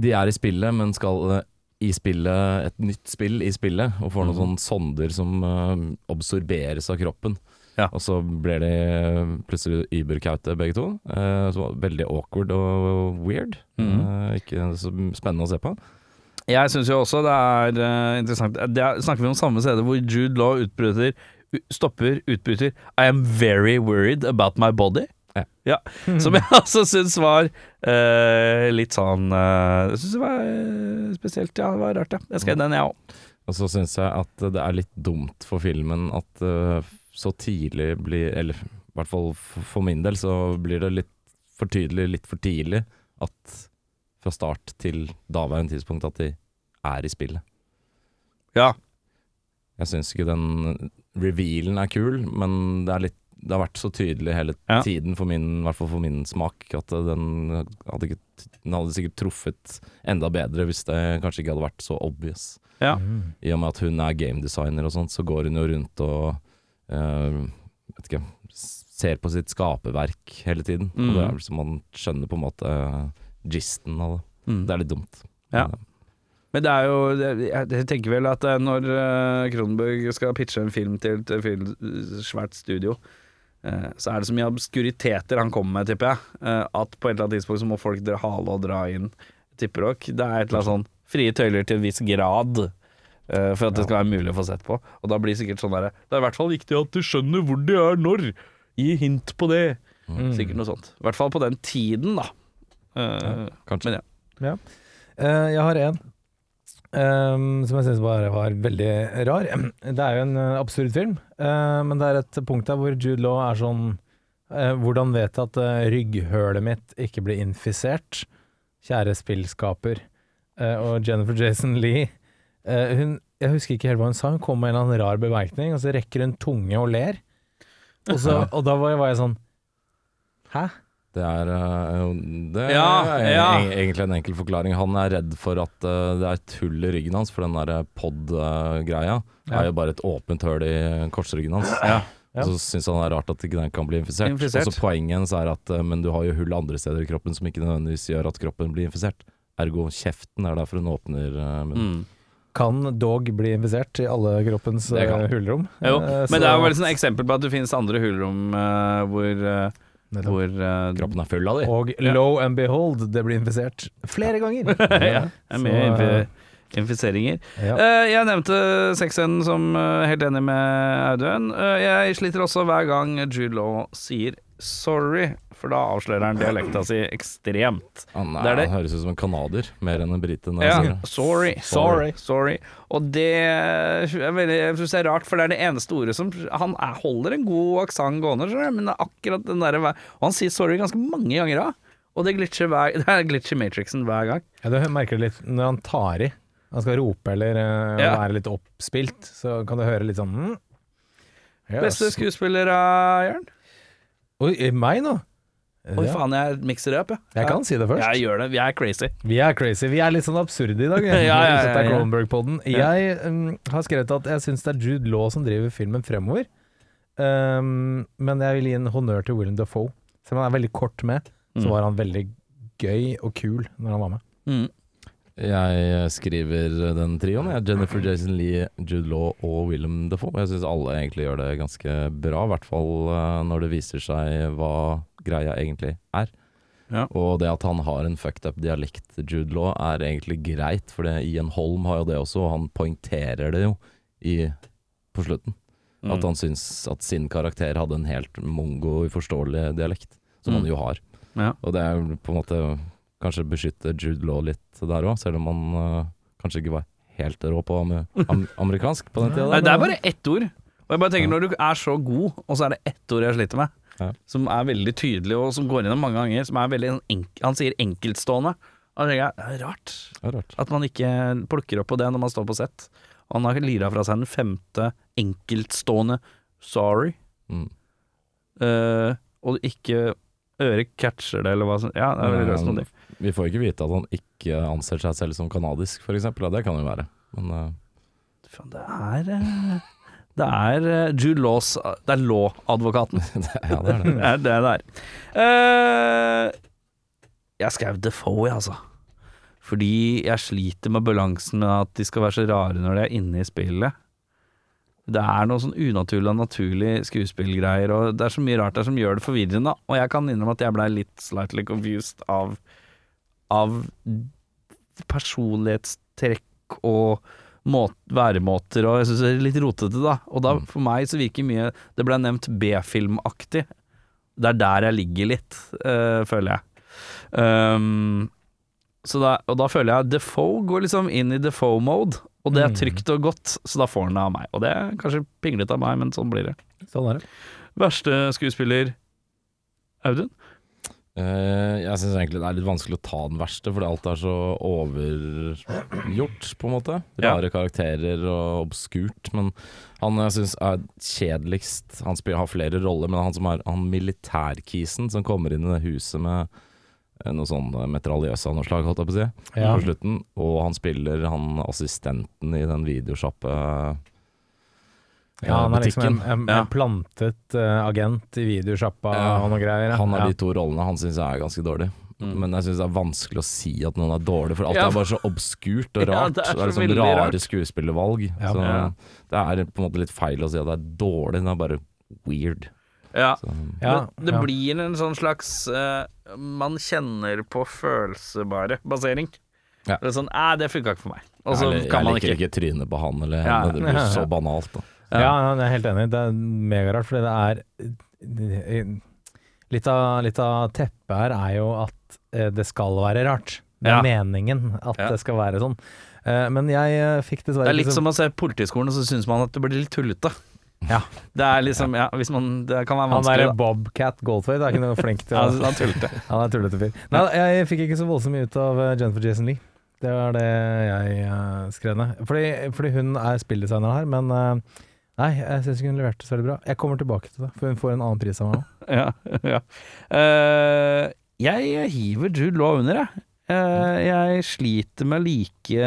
Speaker 4: de er i spillet, men skal eh, i spillet et nytt spill i spillet, og får noen
Speaker 2: Mhm.
Speaker 4: sånne sonder som eh, absorberes av kroppen.
Speaker 2: Ja.
Speaker 4: Og så blir de eh, plutselig überkaute begge to. eh, som var veldig awkward og weird.
Speaker 2: Mhm.
Speaker 4: Eh, ikke så spennende å se på.
Speaker 2: Jeg syns jo også det er eh, interessant det er, Snakker vi om samme CD hvor Jude Law utbryter u- Stopper, utbryter I am very worried about my body.
Speaker 4: Ja.
Speaker 3: Mm.
Speaker 2: Som jeg altså syns var eh, litt sånn eh, Jeg syns det var eh, spesielt, ja. Det var rart, ja. Jeg skrev den, jeg òg.
Speaker 4: Og så syns jeg at det er litt dumt for filmen at eh, så tidlig blir Eller i hvert fall f- for min del, så blir det litt for tydelig litt for tidlig at fra start til daværende tidspunkt at de er i spillet.
Speaker 2: Ja.
Speaker 4: Jeg syns ikke den revealen er kul, men det, er litt, det har vært så tydelig hele
Speaker 2: Ja.
Speaker 4: tiden, for min, i hvert fall for min smak, at den hadde, ikke, t- den hadde sikkert truffet enda bedre hvis det kanskje ikke hadde vært så obvious.
Speaker 2: Ja.
Speaker 3: Mm.
Speaker 4: I og med at hun er gamedesigner og sånt, så går hun jo rundt og eh, vet ikke, s- ser på sitt skaperverk hele tiden.
Speaker 2: Mm.
Speaker 4: Og det er vel så man skjønner på en måte eh, gisten av det.
Speaker 2: Mm.
Speaker 4: Det er litt dumt.
Speaker 2: Ja.
Speaker 4: Men,
Speaker 2: Men det er jo Jeg, jeg tenker vel at eh, når eh, Kronenberg skal pitche en film til et film, svært studio, eh, så er det så mye obskuriteter han kommer med, tipper jeg, eh, at på et eller annet tidspunkt så må folk dra- hale og dra inn tipperokk. Det er et eller annet sånn frie tøyler til en viss grad. eh, For at det skal være mulig å få sett på. Og da blir det sikkert sånn derre Det er i hvert fall viktig at du skjønner hvor de er når. Gi hint på det. Sikkert noe sånt. I hvert fall på den tiden, da. Eh,
Speaker 4: kanskje.
Speaker 2: Men ja.
Speaker 3: Eh, jeg har en ehm, som jeg syns bare var veldig rar. Det er jo en eh, absurd film, eh, men det er et punkt der hvor Jude Law er sånn eh, Hvordan vet jeg at eh, rygghølet mitt ikke blir infisert? Kjære spillskaper. Eh, og Jennifer Jason Lee eh, hun, Jeg husker ikke helt hva hun sa, hun kom med en eller annen rar bemerkning, og så rekker hun tunge og ler. Og, så, og da var jeg, var jeg sånn Hæ?
Speaker 4: Det er, eh, jo, det er
Speaker 2: Ja,
Speaker 4: e-
Speaker 2: ja.
Speaker 4: e- egentlig en enkel forklaring. Han er redd for at eh, det er et hull i ryggen hans, for den der eh, pod-greia
Speaker 3: Ja.
Speaker 4: er jo bare et åpent hull i korsryggen hans.
Speaker 2: Ja.
Speaker 3: Ja.
Speaker 4: Og så syns han det er rart at ikke den kan bli infisert.
Speaker 2: Infisert.
Speaker 4: Og så Poenget hennes er at eh, men du har jo hull andre steder i kroppen som ikke nødvendigvis gjør at kroppen blir infisert. Ergo kjeften er derfor hun åpner eh, munnen.
Speaker 2: Mm.
Speaker 3: Kan dog bli infisert i alle kroppens
Speaker 4: Det kan.
Speaker 3: eh, hulrom.
Speaker 2: Jo,
Speaker 3: Eh,
Speaker 2: men
Speaker 3: så-
Speaker 2: det er jo vel et eksempel på at det finnes andre hulrom eh, hvor, eh,
Speaker 3: Nettopp.
Speaker 2: hvor eh,
Speaker 4: Kroppen er full av de.
Speaker 3: Og lo and behold, det blir infisert flere ganger.
Speaker 2: ja, er mye
Speaker 3: Så, eh,
Speaker 2: infi- infiseringer.
Speaker 3: ja.
Speaker 2: Eh, jeg nevnte sexscenen som eh, helt enig med Audun. Eh, jeg sliter også hver gang Jude Law sier 'sorry', for da avslører han dialekta si ekstremt.
Speaker 4: Han,
Speaker 2: Det er
Speaker 4: er,
Speaker 2: det.
Speaker 4: han høres ut som en canadier mer enn en brite. når jeg
Speaker 2: Ja,
Speaker 4: sier det.
Speaker 2: sorry,
Speaker 4: Sorry.
Speaker 2: sorry. Og det er veldig, jeg synes det er rart, for det er det eneste ordet som Han er, holder en god aksent gående, skjønner du, men det er akkurat den derre hver- Og han sier sorry ganske mange ganger òg. Og det glitcher hver, det er glitch i Matrixen hver gang.
Speaker 3: ja, du merker det litt når han tar i. Han skal rope eller eh,
Speaker 2: Ja.
Speaker 3: være litt oppspilt, så kan du høre litt sånn mm. Yes.
Speaker 2: Beste skuespiller av Jørn?
Speaker 3: Oi, i meg nå?
Speaker 2: Oi,
Speaker 3: Ja.
Speaker 2: faen, jeg mikser det opp, jeg.
Speaker 3: Jeg kan si det først.
Speaker 2: Jeg gjør det. Jeg er crazy.
Speaker 3: Vi er crazy. Vi er litt sånn absurde i dag.
Speaker 2: Ja, ja, ja,
Speaker 3: Dette er
Speaker 2: ja.
Speaker 3: Cronenberg-podden. Jeg mm, har skrevet at jeg syns det er Jude Law som driver filmen fremover. Um, men jeg vil gi en honnør til William Defoe. Selv om han er veldig kort med, så var han veldig gøy og kul når han var med.
Speaker 2: Mm.
Speaker 4: Jeg eh, skriver den trioen. Jeg. Jennifer Jason Lee, Jude Law og Willem Defoe. Jeg syns alle egentlig gjør det ganske bra, i hvert fall eh, når det viser seg hva greia egentlig er.
Speaker 2: Ja.
Speaker 4: Og det at han har en fucked up dialekt, Jude Law, er egentlig greit, for det, Ian Holm har jo det også, og han poengterer det jo i, på slutten.
Speaker 2: Mm.
Speaker 4: At han syns at sin karakter hadde en helt mongo, uforståelig dialekt, som
Speaker 2: Mm.
Speaker 4: han jo har.
Speaker 2: Ja.
Speaker 4: Og det er jo på en måte kanskje beskytte Jude Law litt der òg, selv om han øh, kanskje ikke var helt rå på am am amerikansk på den tida.
Speaker 2: Nei, det er
Speaker 4: men-
Speaker 2: bare ett ord. Og jeg bare tenker
Speaker 4: Ja.
Speaker 2: Når du er så god, og så er det ett ord jeg sliter med,
Speaker 4: Ja.
Speaker 2: som er veldig tydelig, og som går gjennom mange ganger, som er veldig sånn enk Han sier enkeltstående. Og da tenker jeg, det er rart
Speaker 4: Det er rart.
Speaker 2: at man ikke plukker opp på det når man står på sett. Og han har lira fra seg den femte enkeltstående 'sorry',
Speaker 4: Mm.
Speaker 2: eh, og ikke øret catcher det, eller hva som Ja, det er veldig
Speaker 4: Nei,
Speaker 2: løst noe. det.
Speaker 4: Vi får ikke vite at han ikke anser seg selv som kanadisk, for eksempel. Ja, det kan jo være. Men øh,
Speaker 2: Faen, Det er eh, Det er eh, Jude Laws Det er law-advokaten.
Speaker 4: ja, det er det.
Speaker 2: Det er det det er. Eh, jeg skrev Defoe, jeg, altså. Fordi jeg sliter med balansen med at de skal være så rare når de er inne i spillet. Det er noe sånn unaturlig og naturlig skuespillgreier, og det er så mye rart der som gjør det forvirrende. Og jeg kan innrømme at jeg blei litt slightly confused av, av personlighetstrekk og må- væremåter, og jeg syns det er litt rotete, da. Og da, for meg så virker mye Det ble nevnt B-filmaktig. Det er der jeg ligger litt, eh, føler jeg. Ehm, så da, og da føler jeg Defoe går liksom inn i Defoe-mode, og det er trygt og godt, så da får han det av meg. Og det er kanskje pinglete av meg, men sånn blir det.
Speaker 3: Sånn er det.
Speaker 2: Verste skuespiller Audun?
Speaker 4: Eh, jeg syns egentlig det er litt vanskelig å ta den verste, fordi alt er så overgjort, på en måte.
Speaker 2: Ja.
Speaker 4: Rare karakterer og obskurt. Men han jeg syns er kjedeligst Han spiller, har flere roller, men han som er han militærkisen som kommer inn i det huset med eh, noe sånn eh, metraljøse av noe slag, holdt jeg på å si,
Speaker 3: Ja.
Speaker 4: på slutten. Og han spiller han assistenten i den videosjappe eh,
Speaker 3: Ja, han er liksom en,
Speaker 4: butikken.
Speaker 3: en,
Speaker 2: Ja.
Speaker 3: en plantet eh, agent i videosjappa
Speaker 4: Ja.
Speaker 3: og noe greier. ja.
Speaker 4: Han er
Speaker 3: ja.
Speaker 4: de to rollene han syns er ganske dårlig. Mm. Men jeg syns det er vanskelig å si at noen er dårlig, for alt
Speaker 2: Mm. Ja.
Speaker 4: er bare så obskurt og
Speaker 2: Ja,
Speaker 4: rart.
Speaker 2: det er så
Speaker 4: det er liksom
Speaker 2: veldig
Speaker 4: rare
Speaker 2: rart.
Speaker 4: skuespillervalg.
Speaker 3: Ja.
Speaker 4: Så
Speaker 2: Ja.
Speaker 4: det er på en måte litt feil å si at det er dårlig, det er bare weird.
Speaker 2: Ja.
Speaker 4: Så,
Speaker 3: ja,
Speaker 2: Men det
Speaker 3: ja.
Speaker 2: blir en sånn slags eh, man kjenner på følelsebare basering.
Speaker 4: Ja.
Speaker 2: Det er sånn Æ, det funka ikke for meg. Og så
Speaker 4: jeg,
Speaker 2: kan
Speaker 4: jeg
Speaker 2: man
Speaker 4: liker
Speaker 2: ikke.
Speaker 4: ikke trynet på han eller
Speaker 2: Ja.
Speaker 4: henne, det blir så banalt. Da.
Speaker 3: Ja, ja, jeg er helt enig. Det er megarart, fordi det er Litt av, litt av teppet her er jo at eh, det skal være rart. Det er
Speaker 2: Ja.
Speaker 3: meningen at
Speaker 2: Ja.
Speaker 3: det skal være sånn. Eh, Men jeg eh, fikk
Speaker 2: Det
Speaker 3: dessverre
Speaker 2: er litt
Speaker 3: ikke
Speaker 2: som
Speaker 3: så-
Speaker 2: å se Politiskolen, og så syns man at det blir litt tullete.
Speaker 3: Ja.
Speaker 2: Det er liksom Ja, hvis man Det kan være
Speaker 3: Han derre
Speaker 2: vanskelig, da.
Speaker 3: Bobcat Goldthwait er ikke noe flink til
Speaker 2: Ja,
Speaker 3: å
Speaker 2: altså, han tullete.
Speaker 3: Han er tullete fyr. Nei, jeg fikk ikke så voldsomt mye ut av eh, Jennifer Jason Lee. Det var det jeg eh, skrev ned. Fordi, fordi hun er spilldesigner her, men eh, nei, jeg syns ikke hun leverte så veldig bra. Jeg kommer tilbake til det, for hun får en annen pris av meg òg.
Speaker 2: Ja, ja. Eh, jeg hiver Jude Law under, jeg. Eh, jeg sliter med å like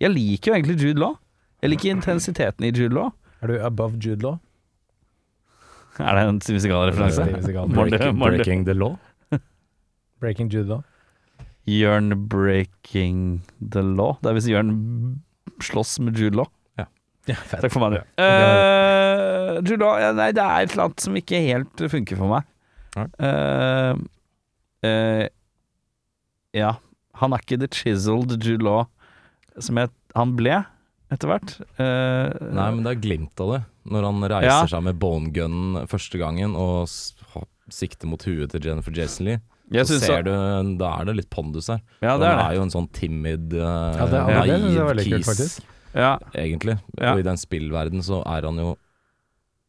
Speaker 2: Jeg liker jo egentlig Jude Law. Jeg liker intensiteten i Jude Law.
Speaker 3: Er du above Jude Law?
Speaker 2: Er det en musikalreferanse?
Speaker 3: Veldig musikal.
Speaker 2: Var det-
Speaker 4: Breaking,
Speaker 2: var det-
Speaker 4: breaking the law.
Speaker 3: Breaking Jude Law.
Speaker 2: Jørn breaking the law. Det er hvis Jørn slåss med Jude Law. Takk for meg, du. Eh, Jude Law ja, Nei, det er et eller annet som ikke helt funker for meg.
Speaker 4: Nei.
Speaker 2: Eh, eh, ja. Han er ikke the chiseled Jude Law som jeg, han ble etter hvert. Eh,
Speaker 4: Nei, men det er glimt av det. Når han reiser
Speaker 2: Ja.
Speaker 4: seg med bone gun første gangen og s- ha- sikter mot huet til Jennifer Jason Lee,
Speaker 2: jeg
Speaker 4: så
Speaker 2: synes
Speaker 4: ser
Speaker 2: at-
Speaker 4: du, da er det litt pondus her.
Speaker 2: Ja, det er det.
Speaker 4: Han er jo en sånn timid, eh,
Speaker 3: Ja, det er- det synes jeg er
Speaker 4: naiv
Speaker 3: veldig kult,
Speaker 4: kis,
Speaker 3: faktisk.
Speaker 2: Ja.
Speaker 4: egentlig.
Speaker 2: Ja.
Speaker 4: Og i den spillverden så er han jo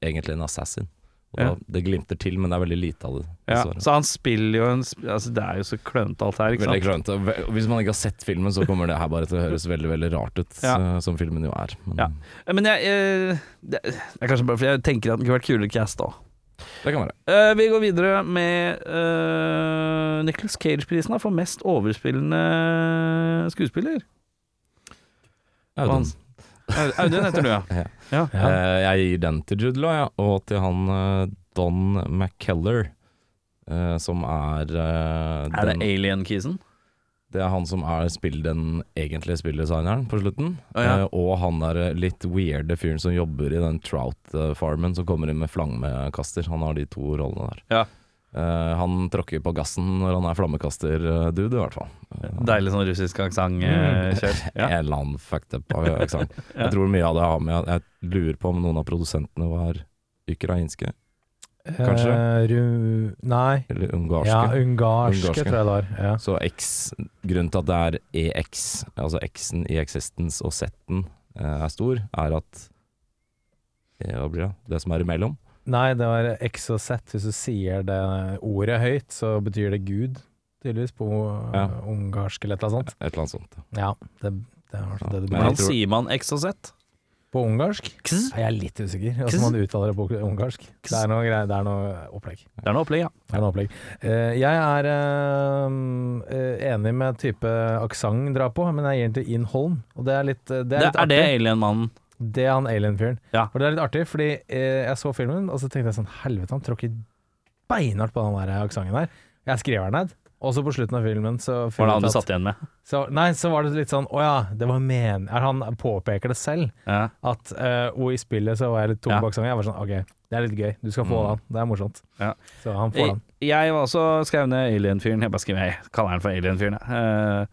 Speaker 4: egentlig en assassin. Og
Speaker 2: Ja.
Speaker 4: da, det glimter til, men det er veldig lite av det.
Speaker 2: Ja,
Speaker 4: dessverre.
Speaker 2: så han spiller jo en sp- altså Det er jo så klønete alt her, ikke
Speaker 4: Veldig
Speaker 2: sant?
Speaker 4: klønete. Ve- Hvis man ikke har sett filmen, så kommer det her bare til å høres veldig veldig rart ut,
Speaker 2: Ja.
Speaker 4: eh, som filmen jo er. Men
Speaker 2: Ja. Men jeg, eh, det det er kanskje bare fordi jeg tenker at den kunne vært kulere cast da.
Speaker 4: det kan være.
Speaker 2: Eh, vi går videre med uh, Nicholas Cage-prisen da, for mest overspillende skuespiller.
Speaker 4: Audun.
Speaker 2: Au- Audun heter du, ja.
Speaker 3: Ja.
Speaker 4: Eh, jeg gir den til Jude Law, ja, og til han eh, Don McKellar, eh, som er eh,
Speaker 2: Er det
Speaker 4: den,
Speaker 2: Alien-kisen?
Speaker 4: Det er han som er spill, den egentlige spilldesigneren på slutten.
Speaker 2: Å, ja.
Speaker 4: Eh, og han der litt weirde fyren som eh, jobber i den Trout-farmen, som kommer inn med flammekaster. Han har de to rollene der.
Speaker 2: Ja.
Speaker 4: Eh, han tråkker på gassen når han er flammekaster-dude, i hvert fall. Eh,
Speaker 2: Deilig sånn russisk
Speaker 3: Mm.
Speaker 2: aksent-kjør. Ja.
Speaker 4: En eller annen fucked up eh, aksent. Jeg tror mye av det har med Jeg lurer på om noen av produsentene var ukrainske Kanskje.
Speaker 3: Eh, Ru... Nei.
Speaker 4: eller ungarske.
Speaker 3: Ja, ungarske,
Speaker 4: Ungarske.
Speaker 3: tror jeg det var. Ja.
Speaker 4: Så X, grunnen til at det er EX, altså X-en i existence og Z-en eh, er stor, er at eh, Hva blir det? Det som er imellom?
Speaker 3: Nei, det var X og Z. Hvis du sier det ordet høyt, så betyr det Gud, tydeligvis, på eh,
Speaker 4: Ja.
Speaker 3: ungarsk eller et eller annet sånt.
Speaker 4: Et eller annet sånt.
Speaker 3: Ja, det, det er altså det det
Speaker 4: Ja.
Speaker 3: betyr.
Speaker 2: Hvordan sier man X og Z?
Speaker 3: På ungarsk?
Speaker 2: Kz.
Speaker 3: Nei, Jeg er litt usikker.
Speaker 2: Kz.
Speaker 3: Altså, man uttaler det på ungarsk. Det er noe, grei- det er noe opplegg.
Speaker 2: Det er noe opplegg, ja.
Speaker 3: Det er noe opplegg. Eh, jeg er eh, eh, enig med type aksent drar på, men jeg gir den til Inn Holm. Og det er litt, eh, det
Speaker 2: Det
Speaker 3: er litt
Speaker 2: er det
Speaker 3: artig.
Speaker 2: alien-mannen.
Speaker 3: Det er han alien-fyren.
Speaker 2: Ja.
Speaker 3: Og det er litt artig, fordi eh, jeg så filmen, og så tenkte jeg sånn Helvete, han tråkker beinhardt på den der eh, aksenten der. Jeg skriver den ned. Og så på slutten av filmen så
Speaker 2: Hva er det
Speaker 3: finner jeg
Speaker 2: han
Speaker 3: ut
Speaker 2: du
Speaker 3: at-
Speaker 2: satt igjen med?
Speaker 3: så, Nei, så var det litt sånn Å ja, det var men... Er han påpeker det selv?
Speaker 2: Ja.
Speaker 3: At eh, og i spillet så var jeg litt tom
Speaker 2: Ja.
Speaker 3: bak sangen. Jeg var sånn OK, det er litt gøy. Du skal få
Speaker 4: Mm.
Speaker 3: den. Det er morsomt.
Speaker 2: Ja.
Speaker 3: Så han får
Speaker 2: Jeg,
Speaker 3: den.
Speaker 2: jeg var også skrev ned alien-fyren. Jeg bare skrev, jeg kaller han for alien-fyren. jeg.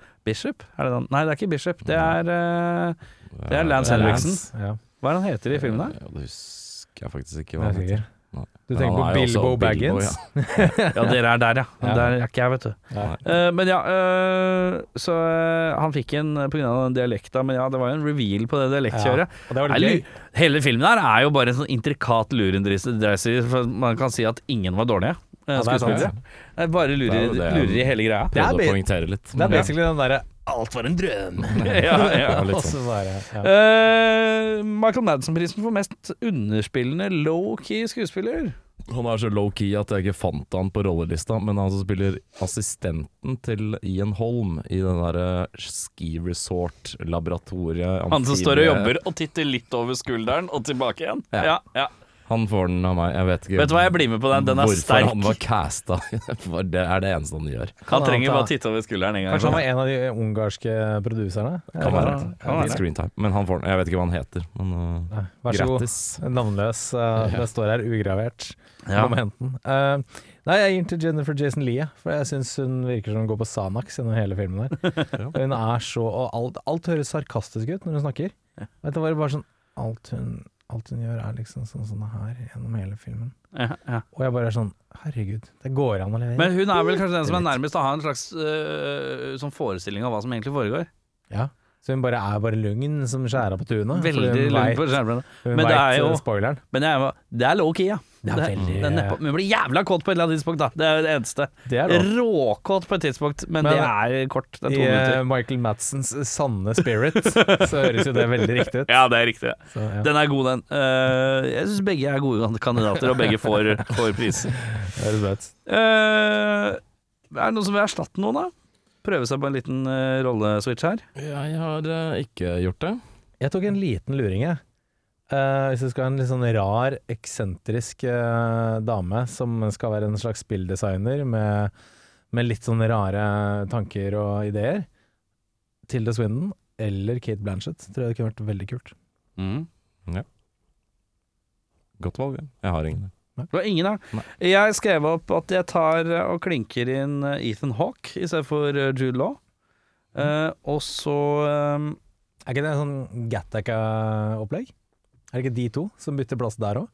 Speaker 2: Eh, Bishop? Er det han? Nei, det er ikke Bishop.
Speaker 3: Mm.
Speaker 2: Det er, eh, det er Lance
Speaker 4: Eh,
Speaker 2: Henriksen.
Speaker 4: Lance.
Speaker 3: Ja,
Speaker 2: Hva er det han heter i filmen der?
Speaker 4: Ja, det husker jeg faktisk ikke.
Speaker 3: det
Speaker 4: hva
Speaker 3: er
Speaker 4: han heter.
Speaker 3: sikkert.
Speaker 4: Nei.
Speaker 3: Du
Speaker 4: Men han
Speaker 3: tenker på
Speaker 4: er jo
Speaker 3: Bilbo
Speaker 4: også
Speaker 3: Baggins?
Speaker 4: ja.
Speaker 2: Ja, dere er der, ja.
Speaker 3: Ja.
Speaker 2: Der er ikke jeg, vet du.
Speaker 3: Ja.
Speaker 2: Eh, men ja, eh, så eh, han fikk en eh, på grunn av den dialekta, men ja, det var jo en reveal på det dialektkjøret.
Speaker 3: Og det var
Speaker 2: Nei,
Speaker 3: litt gøy.
Speaker 2: lu- Hele filmen her er jo bare en sånn intrikat lurendreiser. for Man kan si at ingen var dårlige eh,
Speaker 3: Ja, det er sant.
Speaker 2: skuespillere. Det er bare
Speaker 4: Det er
Speaker 2: lurer,
Speaker 4: jo det.
Speaker 2: lurer i hele greia.
Speaker 3: Det er
Speaker 4: Prøvde
Speaker 3: be-
Speaker 4: å poengtere litt.
Speaker 3: Det
Speaker 4: men
Speaker 3: er basically den derre Alt var en drøm.
Speaker 2: ja, ja.
Speaker 4: Ja, litt sånn.
Speaker 3: Og så bare ja.
Speaker 2: Eh, Michael Madsen-prisen for mest underspillende low-key skuespiller.
Speaker 4: Han er så low-key at jeg ikke fant han på rollelista, men han som spiller assistenten til Ian Holm i den derre ski resort-laboratoriet
Speaker 2: Han som står og jobber og titter litt over skulderen og tilbake igjen.
Speaker 4: Ja.
Speaker 2: Ja, ja.
Speaker 4: Han får den av meg, jeg vet ikke
Speaker 2: Vet du hva, jeg blir med på den. Den er
Speaker 4: hvorfor
Speaker 2: sterk.
Speaker 4: han var casta. For det er det eneste han gjør.
Speaker 2: Han trenger
Speaker 3: ta-
Speaker 2: bare titte over skulderen en gang.
Speaker 3: Kanskje han var en av de ungarske produserne?
Speaker 4: Kan
Speaker 3: Ja,
Speaker 4: være.
Speaker 2: Kan være.
Speaker 4: Screen time. Men han får den, jeg vet ikke hva han heter. Men uh,
Speaker 3: Nei, Vær så god.
Speaker 4: grattis.
Speaker 3: Navnløs. eh, Det står her ugravert.
Speaker 2: Ja.
Speaker 3: Kom og hent den. Eh, nei, jeg gir den til Jennifer Jason Lee, for jeg syns hun virker som hun går på Sanax gjennom hele filmen der. Hun er så Og alt, alt høres sarkastisk ut når hun snakker. Vet du, var det bare sånn alt hun, alt hun gjør, er liksom sånn sånn her gjennom hele filmen.
Speaker 2: Ja, ja.
Speaker 3: Og jeg bare er sånn Herregud, det går an å levere.
Speaker 2: Men hun er vel kanskje den som er nærmest å ha en slags øh, sånn forestilling av hva som egentlig foregår.
Speaker 3: ja. Så hun bare er bare lugn som skjæra på tunet. fordi
Speaker 2: Veldig
Speaker 3: hun
Speaker 2: lugn
Speaker 3: vet-
Speaker 2: på skjermen.
Speaker 3: Hun
Speaker 2: Men det
Speaker 3: vet,
Speaker 2: er jo-
Speaker 3: eh, spoileren.
Speaker 2: Men jeg, var- det er low-key, ja.
Speaker 3: Det er veldig-
Speaker 2: er nedpå- men hun blir jævla kåt på et eller annet tidspunkt, da. Det er jo det eneste.
Speaker 3: Det er lov.
Speaker 2: Råkåt på et tidspunkt, men,
Speaker 3: Men-
Speaker 2: det er kort. Det er
Speaker 3: I
Speaker 2: to
Speaker 3: eh,
Speaker 2: minutter.
Speaker 3: Michael Madsens sanne spirit, så høres jo det veldig riktig ut.
Speaker 2: Ja, det er riktig. det.
Speaker 3: Så, ja.
Speaker 2: Den er god, den. Eh, jeg syns begge er gode kandidater, og begge får, får pris.
Speaker 3: Det høres bra ut.
Speaker 2: Eh, er det noen som vil erstatte noen, da? Prøve seg på en liten eh, rolleswitch her.
Speaker 4: Jeg har eh, ikke gjort det.
Speaker 3: Jeg tok en liten luring, jeg. Eh, hvis du skal ha en litt sånn rar, eksentrisk eh, dame som skal være en slags spilldesigner med, med litt sånn rare tanker og ideer. Tilda Swindon eller Kate Blanchett tror jeg det kunne vært veldig kult.
Speaker 4: Godt valg. ja. Jeg har ingen.
Speaker 2: Det var ingen, ja.
Speaker 4: Nei.
Speaker 2: Jeg skrev opp at jeg tar eh, og klinker inn eh, Ethan Hawke i stedet for eh, Jude Law. Eh, og så eh,
Speaker 3: Er ikke det en sånn Gattaca-opplegg? Er det ikke de to som bytter plass der òg?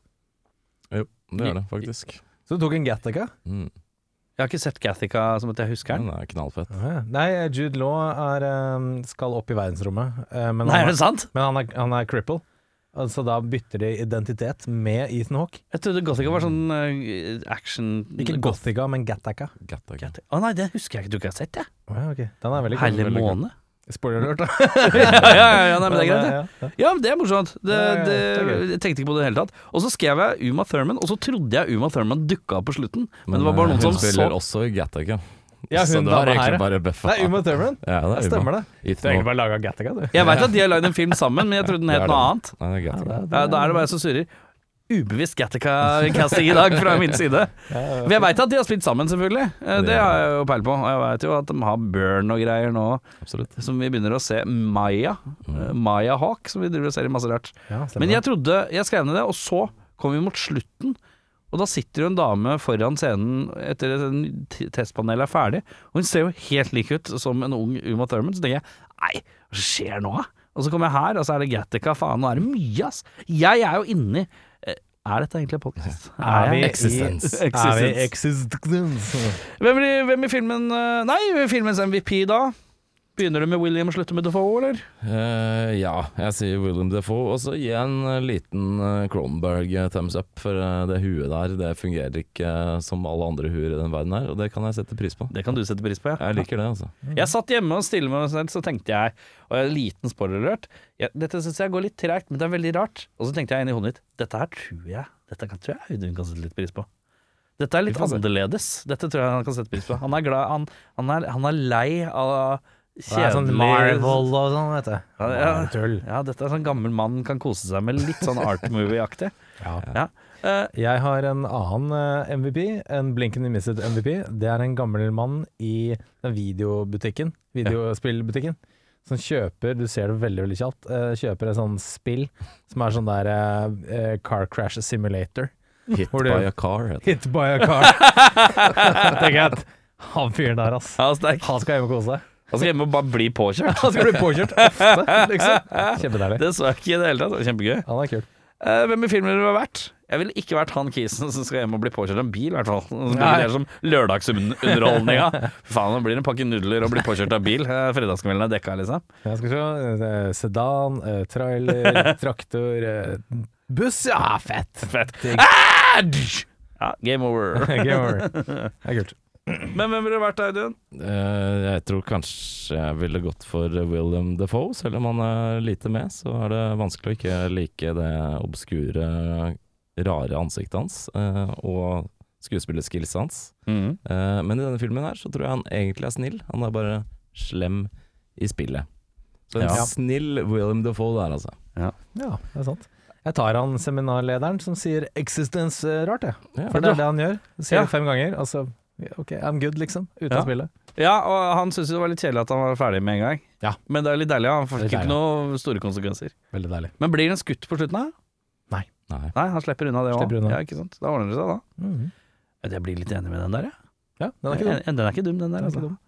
Speaker 4: Det er det, faktisk.
Speaker 3: Så du tok en Gattaca?
Speaker 4: Mm.
Speaker 2: Jeg har ikke sett Gathica som at jeg husker den.
Speaker 4: Den er knallfett.
Speaker 3: Nei, Jude Law er, eh, skal opp i verdensrommet, eh, men,
Speaker 2: Nei, er
Speaker 3: han,
Speaker 2: det sant?
Speaker 3: men han, er, han er cripple. Så da bytter de identitet med Ethan Hawke.
Speaker 2: Jeg trodde Gothica var sånn eh, action
Speaker 3: Ikke Gothica, men Gattaca.
Speaker 4: Gattaca.
Speaker 2: Gothica. Å nei, den husker jeg ikke du ikke har sett, jeg.
Speaker 3: Den er veldig kul.
Speaker 2: Herlig måne.
Speaker 3: Spoiler alert, da.
Speaker 2: ja, ja, ja, nei, men det er greit, det.
Speaker 3: Ja,
Speaker 2: Ja, men det er morsomt. Det,
Speaker 3: Ja, ja, ja,
Speaker 2: det,
Speaker 3: det er gøy.
Speaker 2: jeg tenkte ikke på det i det hele tatt. Og så skrev jeg Uma Thurman, og så trodde jeg Uma Thurman dukka opp på slutten. Men, det var bare
Speaker 4: eh,
Speaker 2: noen som
Speaker 4: Hun spiller
Speaker 2: så
Speaker 4: også i Gattaca.
Speaker 3: Ja,
Speaker 4: så
Speaker 3: hun
Speaker 4: det var
Speaker 3: dama her,
Speaker 4: egentlig
Speaker 3: ja.
Speaker 4: bare bøffa.
Speaker 3: Det er Uma Thurman.
Speaker 4: Ja, det
Speaker 3: Det
Speaker 4: er
Speaker 3: stemmer, det. Du har
Speaker 4: Ethan
Speaker 3: egentlig bare laga Gattaca, du.
Speaker 2: Jeg veit at de har lagd en film sammen, men jeg trodde den
Speaker 4: Det
Speaker 2: het
Speaker 4: er
Speaker 2: noe
Speaker 4: det.
Speaker 2: annet.
Speaker 4: Hawke. Nei, det er Gattaca.
Speaker 2: Ja, da er det bare jeg som surrer. Ubevisst Gattaca-casting i dag fra min side. Men jeg veit at de har spilt sammen, selvfølgelig. Eh, Det har jeg jo peil på. Og jeg veit jo at de har Burn og greier nå,
Speaker 4: Absolutt.
Speaker 2: som vi begynner å se. Maya. eh, Maya Hawk, som vi driver og ser i masse rart.
Speaker 3: Ja, stemmer
Speaker 2: Men
Speaker 3: det.
Speaker 2: jeg trodde Jeg skrev ned det, og så kom vi mot slutten. Og da sitter jo en dame foran scenen etter at en t- testpanel er ferdig, og hun ser jo helt lik ut som en ung Uma Thurman. Så tenker jeg nei, hva skjer nå? da? Og så kommer jeg her, og så er det Gattaca, faen, nå er det mye, ass. Jeg er jo inni eh, Er dette egentlig en podkast?
Speaker 3: Er vi
Speaker 4: Eksistens.
Speaker 3: i Er vi i eksistens?
Speaker 2: Hvem, blir, hvem i filmen eh, Nei, filmens MVP, da? Begynner du med William og slutter med Defoe, eller?
Speaker 4: Eh, ja, jeg sier William Defoe. Og så gi en eh, liten eh, Cronenberg eh, thumbs up, for eh, det huet der det fungerer ikke eh, som alle andre huer i den verden her, og det kan jeg sette pris på.
Speaker 2: Det kan du sette pris på, ja.
Speaker 4: Jeg liker det, altså.
Speaker 2: Jeg satt hjemme og stille med meg selv, så tenkte jeg, og jeg er liten spoiler-alert jeg- Dette syns jeg går litt tregt, men det er veldig rart. Og så tenkte jeg inni hodet mitt Dette her tror jeg Dette kan, tror jeg Audun kan sette litt pris på. Dette er litt
Speaker 4: Vi får se.
Speaker 2: annerledes. Dette tror jeg han kan sette pris på. Han er glad Han, han, er, han er lei av
Speaker 3: Det er sånn
Speaker 2: kjedelig
Speaker 3: Marvel og sånn, vet du.
Speaker 2: Ja, ja.
Speaker 3: Bare Tull.
Speaker 2: Ja, dette er sånn gammel mann kan kose seg med. Litt sånn art movie-aktig.
Speaker 3: Ja.
Speaker 2: Ja. Eh,
Speaker 3: Jeg har en annen eh, MVP, en blinkende misset MVP. Det er en gammel mann i den videobutikken, videospillbutikken, som kjøper, du ser det veldig veldig kjapt, eh, kjøper et sånt spill som er sånn der eh, eh, car crash simulator.
Speaker 4: Hit
Speaker 3: Hvor
Speaker 4: by
Speaker 3: det-
Speaker 4: a car, heter det.
Speaker 3: Hit by a car. Tenker jeg at han fyren der, ass.
Speaker 2: ja, sterk.
Speaker 3: Han skal hjem og kose seg.
Speaker 2: Han skal hjem og bare bli påkjørt.
Speaker 3: Han skal bli påkjørt ofte, liksom. Kjempedeilig.
Speaker 2: Det så jeg ikke i det hele tatt. Det var Kjempegøy.
Speaker 3: Han er kul.
Speaker 2: Eh, hvem i filmen ville du vært? Jeg ville ikke vært han kisen som skal hjem og bli påkjørt av en bil, i hvert fall. Det
Speaker 3: Nei.
Speaker 2: er som lørdagsunderholdninga. Fy faen, det blir en pakke nudler og bli påkjørt av bil. Eh, Fredagskvelden er dekka, liksom.
Speaker 3: Jeg skal se. eh, Sedan, eh, trailer, traktor, eh, buss. Ja, fett!
Speaker 2: Fett.
Speaker 3: Digg.
Speaker 2: Ah, dj! Ja, game over.
Speaker 3: Game over. Det er kult.
Speaker 2: Men hvem ville du vært, Audun?
Speaker 4: Eh, jeg tror kanskje jeg ville gått for William Defoe, selv om han er lite med, så er det vanskelig å ikke like det obskure, rare ansiktet hans, eh, og skuespillerskillset hans.
Speaker 2: Mm.
Speaker 4: Eh, men i denne filmen her så tror jeg han egentlig er snill, han er bare slem i spillet. Så en
Speaker 2: Ja.
Speaker 4: snill William Defoe der, altså.
Speaker 3: Ja, det er sant. Jeg tar han seminarlederen som sier 'eksistens' eh, rart, jeg.
Speaker 4: Ja,
Speaker 3: For det er det han gjør. Han Sier
Speaker 2: Ja.
Speaker 3: det fem ganger, og så ja, OK, I'm good, liksom. Ute
Speaker 2: Ja.
Speaker 3: av spillet.
Speaker 2: Ja, og han syntes jo det var litt kjedelig at han var ferdig med en gang.
Speaker 3: Ja.
Speaker 2: Men det er litt deilig. Han fikk
Speaker 3: Litt
Speaker 2: ikke
Speaker 3: deilig.
Speaker 2: noen store konsekvenser.
Speaker 3: Veldig deilig.
Speaker 2: Men blir han skutt på slutten, da?
Speaker 4: Nei.
Speaker 2: Nei, han slipper unna det òg.
Speaker 3: Slipper unna.
Speaker 2: Ja, ikke sant. Da ordner det seg, da. Ja, Jeg blir litt enig med den der, jeg.
Speaker 3: Ja, Mhm. den er ikke dum.
Speaker 2: Ja, Den er ikke dum, den der.
Speaker 3: Den er ikke
Speaker 2: Altså.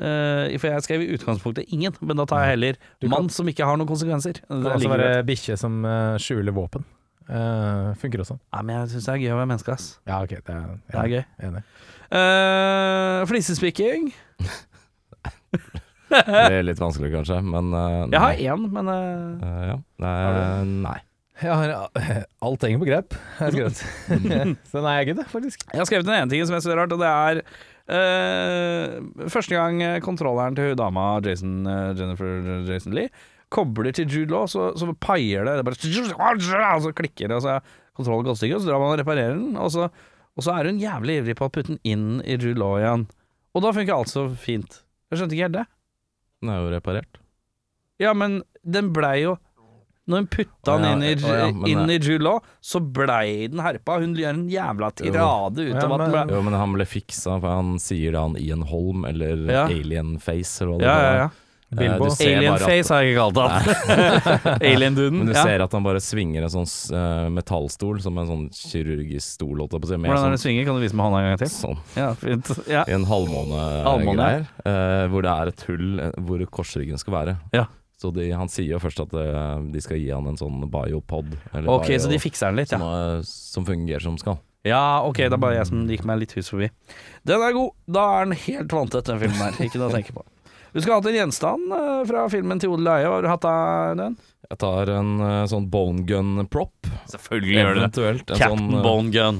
Speaker 2: Eh, for jeg skrev i utgangspunktet ingen, men da tar jeg heller
Speaker 3: Du kan-
Speaker 2: mann som ikke har noen konsekvenser. Det
Speaker 3: Det kan også
Speaker 2: ligger
Speaker 3: være
Speaker 2: greit.
Speaker 3: bikkje som eh, skjuler våpen. Eh, funker også.
Speaker 2: Nei, men jeg syns det er gøy å være menneske, ass.
Speaker 3: Ja, OK, det er,
Speaker 2: Det er gøy.
Speaker 3: Enig.
Speaker 2: Uh, flisespikking.
Speaker 4: Det er litt vanskelig kanskje, men eh,
Speaker 2: Jeg har
Speaker 4: nei.
Speaker 3: Mm.
Speaker 2: én, men eh,
Speaker 4: Eh, ja. Nei,
Speaker 2: Har
Speaker 4: nei.
Speaker 3: Jeg har eh, alt henger på grep, har jeg skrevet. så nei, jeg er good, faktisk.
Speaker 2: Jeg har skrevet den ene tingen som jeg syns er rart, og det er eh, Første gang kontrolleren til hun dama, Jason, eh, Jennifer Jason Lee, kobler til Jude Law, så, så paier det. det er bare, og så klikker det, og så er kontrollen gått stykker, og så drar man og reparerer den. Og så, og så er hun jævlig ivrig på å putte den inn i Jude Law igjen. Og da funker alt så fint. Jeg skjønte ikke helt det.
Speaker 4: Den er jo reparert.
Speaker 2: Ja, men den blei jo Når hun putta
Speaker 4: Å ja,
Speaker 2: den inn i,
Speaker 4: å ja, men
Speaker 2: inn i
Speaker 4: det-
Speaker 2: Jude Law, så blei den herpa. Hun gjør en jævla tirade ut
Speaker 3: Ja,
Speaker 2: av at den
Speaker 3: men-
Speaker 2: blei
Speaker 4: Jo, men han ble fiksa, for han sier da han Ian Holm, eller
Speaker 2: Ja.
Speaker 4: Alien Face, eller hva det
Speaker 2: Ja, ja,
Speaker 4: var.
Speaker 2: ja.
Speaker 4: Eh,
Speaker 3: Bilbo.
Speaker 4: du ser
Speaker 2: Alien
Speaker 4: bare at-
Speaker 2: face har jeg ikke kalt han. Alien-duden.
Speaker 4: Men du
Speaker 2: ja.
Speaker 4: ser at han bare svinger en sånn eh, metallstol, som en sånn kirurgisk stol, holdt jeg på å si. Med
Speaker 2: Hvordan er
Speaker 4: sånn,
Speaker 2: det svinger? Kan du vise meg hånda en gang til?
Speaker 4: sånn
Speaker 2: Ja, fint. Ja.
Speaker 4: i en halvmåne
Speaker 2: Halvmåne,
Speaker 4: greier, eh, hvor det er et hull eh, hvor korsryggen skal være.
Speaker 2: Ja.
Speaker 4: Så de, han sier jo først at eh, de skal gi han en sånn biopod, eller
Speaker 2: Ok,
Speaker 4: bio,
Speaker 2: så de fikser den litt,
Speaker 4: som,
Speaker 2: ja.
Speaker 4: eh, som fungerer som skal.
Speaker 2: Ja, ok, det er bare jeg som gikk meg litt hus forbi. Den er god. Da er den helt vanntett, den filmen her. Ikke noe å tenke på. Du skulle hatt en gjenstand eh, fra filmen til Odel Eie. Hva har du hatt av den?
Speaker 4: Jeg tar en eh, sånn bone gun prop,
Speaker 2: Selvfølgelig
Speaker 4: eventuelt en
Speaker 2: Captain
Speaker 4: sånn eh,
Speaker 2: Bone Gun.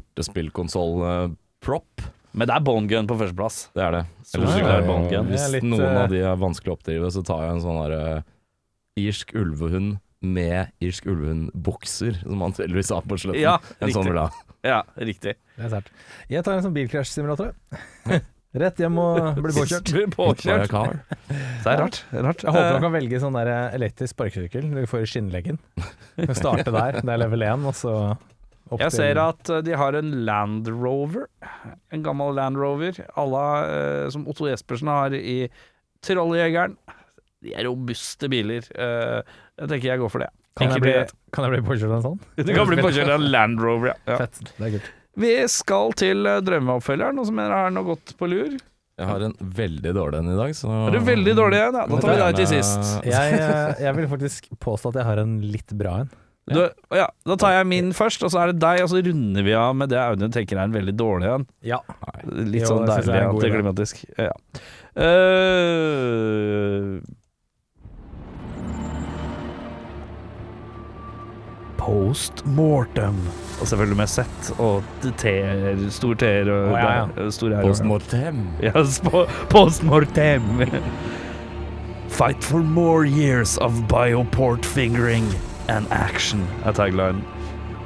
Speaker 4: brystbortespillkonsoll eh, prop.
Speaker 2: Men det er Bone Gun på førsteplass.
Speaker 4: Det er det.
Speaker 2: Solsikker
Speaker 3: Ja,
Speaker 2: Bone
Speaker 3: ja,
Speaker 2: Gun.
Speaker 3: ja.
Speaker 4: Hvis
Speaker 3: litt,
Speaker 4: noen
Speaker 3: eh,
Speaker 4: av de er vanskelig å oppdrive, så tar jeg en sånn der eh, irsk ulvehund med irsk ulvehund-bukser, som han tydeligvis har på slutten.
Speaker 2: Ja,
Speaker 4: en sånn
Speaker 2: riktig.
Speaker 4: vil jeg ha.
Speaker 2: Ja, riktig.
Speaker 3: Det er sært. Jeg tar en sånn bilkrasjsimulator. jeg. Rett hjem og bli påkjørt.
Speaker 2: Blir
Speaker 4: By a
Speaker 2: påkjørt.
Speaker 4: car.
Speaker 2: Det er rart. rart.
Speaker 3: Jeg
Speaker 4: Eh,
Speaker 3: håper man kan velge sånn der elektrisk sparkesykkel når du får skinnleggen. Du Starte der, det er level 1, og så opp
Speaker 2: Jeg ser at eh, de har en Land Rover. En gammel Land Rover à la eh, som Otto Jespersen har i Trolljegeren. De er robuste biler. Eh, jeg tenker jeg går for det.
Speaker 3: Kan,
Speaker 2: Ikke
Speaker 3: jeg bli,
Speaker 2: det-
Speaker 3: kan jeg bli påkjørt av en sånn?
Speaker 2: Du kan bli påkjørt av en Land Rover, ja. ja.
Speaker 3: Fett. Det er kult.
Speaker 2: Vi skal til eh, drømmeoppfølgeren, noen som mener har noe godt på lur.
Speaker 4: Jeg har en veldig dårlig en i dag, så
Speaker 2: Er du veldig dårlig igjen? Ja, da tar vi deg til sist.
Speaker 4: Gjerne-
Speaker 3: Jeg, eh, jeg vil faktisk påstå at jeg har en litt bra en.
Speaker 2: Du, ja, da tar jeg min først, og så er det deg, og så runder vi av med det Audun tenker er en veldig dårlig en.
Speaker 3: Ja.
Speaker 2: Litt
Speaker 3: Jo,
Speaker 2: sånn
Speaker 3: jeg synes det
Speaker 2: deilig
Speaker 3: er en god idé.
Speaker 2: antiklimatisk. Ja. Eh, Post mortem. Og selvfølgelig med Z og T-er, stor T-er og
Speaker 3: Å, ja,
Speaker 2: der, stor R.
Speaker 4: Postmortem.
Speaker 2: Yes, po- postmortem. Fight for more years of bioport fingering and action, er taglinen.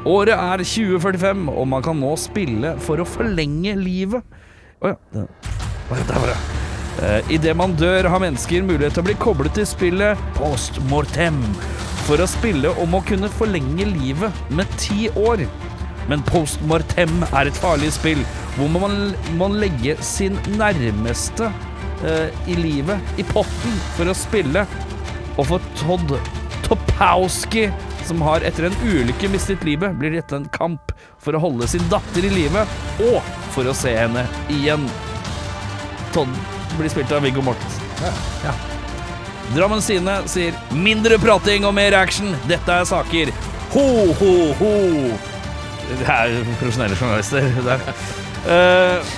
Speaker 2: Året er 2045, og man kan nå spille for å forlenge livet. Å ja. det- Å ja, Der var det. Eh, Idet man dør, har mennesker mulighet til å bli koblet til spillet Post Mortem for å spille om å kunne forlenge livet med ti år. Men Post Mortem er et farlig spill hvor man må legge sin nærmeste eh, i livet i potten for å spille. Og for Todd Topowski, som har etter en ulykke mistet livet, blir dette en kamp for å holde sin datter i live og for å se henne igjen. Todd blir spilt av Viggo Mortensen. Drammen sine sier 'mindre prating og mer action'. Dette er saker. Ho, ho, ho. Det er jo profesjonelle journalister. det der. Eh,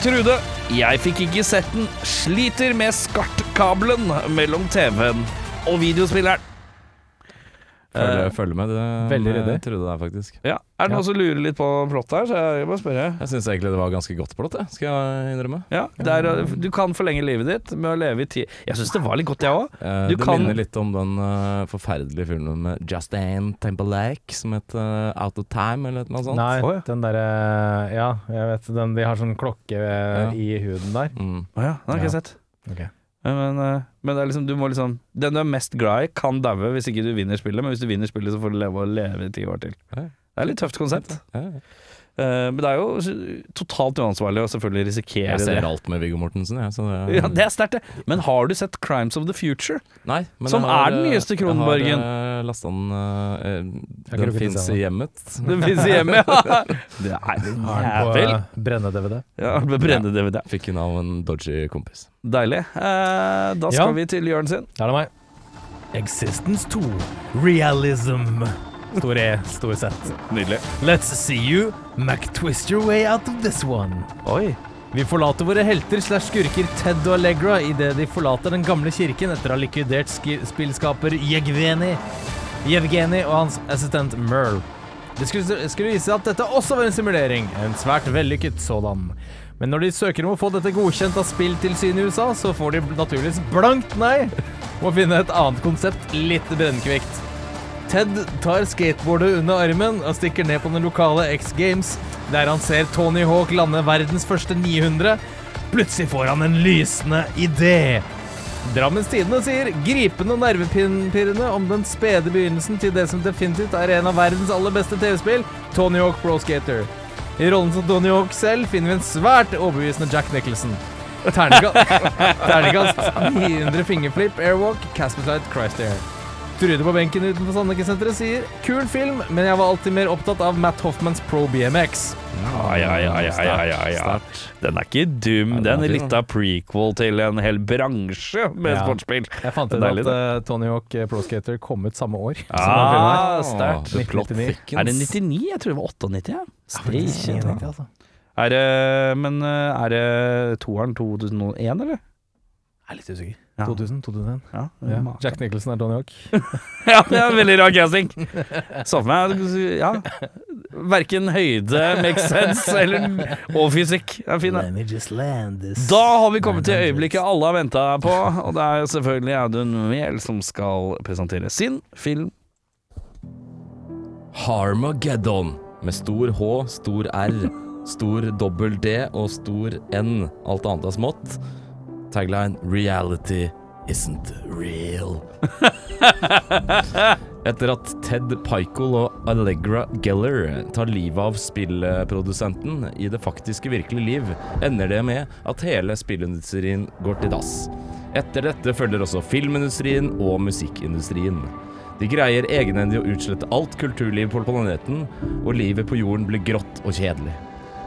Speaker 2: Trude, jeg fikk ikke sett den. Sliter med skartkabelen mellom TV-en og videospilleren.
Speaker 4: Følger,
Speaker 2: Eh,
Speaker 4: følger med. Det,
Speaker 3: veldig
Speaker 4: jeg
Speaker 3: ryddig.
Speaker 4: trodde det, faktisk.
Speaker 2: ja. Er det noen som lurer litt på plottet her, så jeg bare spørre.
Speaker 4: Jeg syns egentlig det var ganske godt plott, jeg, skal jeg innrømme.
Speaker 2: Ja, det er, du kan forlenge livet ditt med å leve i ti Jeg syns det var litt godt, jeg òg.
Speaker 4: Eh,
Speaker 2: Du
Speaker 4: det
Speaker 2: kan-
Speaker 4: minner litt om den eh, forferdelige filmen med Justin Timberlake som het eh, Out of Time, eller noe sånt.
Speaker 3: Nei,
Speaker 2: Å, ja.
Speaker 3: den derre Ja, jeg vet den De har sånn klokke eh,
Speaker 4: Ja.
Speaker 3: i huden der.
Speaker 4: Mm.
Speaker 2: Å ja, den har ikke jeg sett.
Speaker 3: Ok.
Speaker 2: Ja, Men, eh, men det er liksom, du må liksom Den du er mest glad i, kan daue hvis ikke du vinner spillet, men hvis du vinner spillet, så får du leve og leve i ti år til.
Speaker 4: Ja.
Speaker 2: Det er litt tøft konsept.
Speaker 4: Ja, ja.
Speaker 2: Eh, men det er jo s- totalt uansvarlig å selvfølgelig risikere
Speaker 4: Jeg ser
Speaker 2: det.
Speaker 4: alt med Viggo Mortensen, jeg. Så det,
Speaker 2: Ja, det er sterkt, det. Men har du sett Crimes of the Future?
Speaker 4: Nei, men
Speaker 2: Som
Speaker 4: jeg har,
Speaker 2: er den
Speaker 4: eh,
Speaker 2: nyeste Kronborgen.
Speaker 4: Jeg har uh, lasta den eh,
Speaker 3: Jeg kan
Speaker 4: Den
Speaker 3: ikke
Speaker 4: fins
Speaker 3: se
Speaker 4: i hjemmet.
Speaker 2: Det fins i hjemmet, ja! Det er en
Speaker 3: Har den på
Speaker 2: jævel.
Speaker 3: eh, brenne-DVD.
Speaker 2: Ja, med brenne-DVD.
Speaker 4: Fikk hun av en dodgy kompis.
Speaker 2: Deilig. Eh, da skal
Speaker 3: Ja.
Speaker 2: vi til Jørn sin.
Speaker 3: Der er det meg. Existence 2. Realism. Stor E, stor Z.
Speaker 2: Nydelig.
Speaker 3: Let's see you McTwist your way out of this one.
Speaker 2: Oi.
Speaker 3: Vi forlater våre helter slash skurker Ted og Allegra idet de forlater den gamle kirken etter å ha likvidert ski- spillskaper Jevgeni Jevgeni og hans assistent Merl. Det skulle, skulle vise seg at dette også var en simulering, en svært vellykket sådan. Men når de søker om å få dette godkjent av spilltilsynet i USA, så får de naturligvis blankt nei og finne et annet konsept litt brennkvikt. Ted tar skateboardet under armen og stikker ned på den lokale X Games, der han ser Tony Hawk lande verdens første 900. Plutselig får han en lysende idé. Drammens Tidende sier gripende og nervepirrende om den spede begynnelsen til det som definitivt er en av verdens aller beste TV-spill, Tony Hawk Pro Skater. I rollen som Tony Hawk selv finner vi en svært overbevisende Jack Nicholson. Terningkast, terningkast 900 fingerflip, airwalk, Casper Light, Christ Air. Trude på benken utenfor Sandekesenteret sier Kul film, men jeg var alltid mer opptatt av Matt Hoffmans Pro BMX.
Speaker 2: Ai, ai, ai, ai, ai, ai, ai. Den er ikke dum.
Speaker 4: Nei, den
Speaker 2: Den
Speaker 4: er
Speaker 2: er
Speaker 4: fin,
Speaker 2: litt av prequel til en hel bransje med
Speaker 3: Ja.
Speaker 2: sportsspill.
Speaker 3: Jeg fant
Speaker 2: Det er
Speaker 3: ut at
Speaker 2: deilig, det.
Speaker 3: eh, Tony Hawk eh, Pro Skater kom ut samme år. som
Speaker 2: Ah,
Speaker 3: den filmen her.
Speaker 2: sterkt.
Speaker 4: The plot
Speaker 3: 1999.
Speaker 4: thickens.
Speaker 2: Er det 99? Jeg tror det var 98. Ja.
Speaker 3: Station,
Speaker 2: Station.
Speaker 3: egentlig, altså.
Speaker 2: Er det, men eh, er det toeren 2001, eller?
Speaker 3: Jeg er litt usikker.
Speaker 2: Ja.
Speaker 3: 2000, 2001.
Speaker 2: Ja,
Speaker 3: Ja.
Speaker 2: ja.
Speaker 3: Jack Nicholson er Tony Hawk.
Speaker 2: det er en veldig rar casting. Så for meg ja. Verken høyde, makes sense, eller, og fysikk. Det er fin, det.
Speaker 3: me just land this.
Speaker 2: Da har vi kommet til øyeblikket alle har venta på, og det er selvfølgelig Audun Mehl som skal presentere sin film.
Speaker 4: Harmageddon med stor H, stor R, stor dobbel D og stor N. Alt annet er smått. Tagline 'Reality isn't real'. Etter at Ted Pycol og Allegra Geller tar livet av spillprodusenten i det faktiske virkelige liv, ender det med at hele spillindustrien går til dass. Etter dette følger også filmindustrien og musikkindustrien. De greier egenhendig å utslette alt kulturliv på planeten, og livet på jorden blir grått og kjedelig.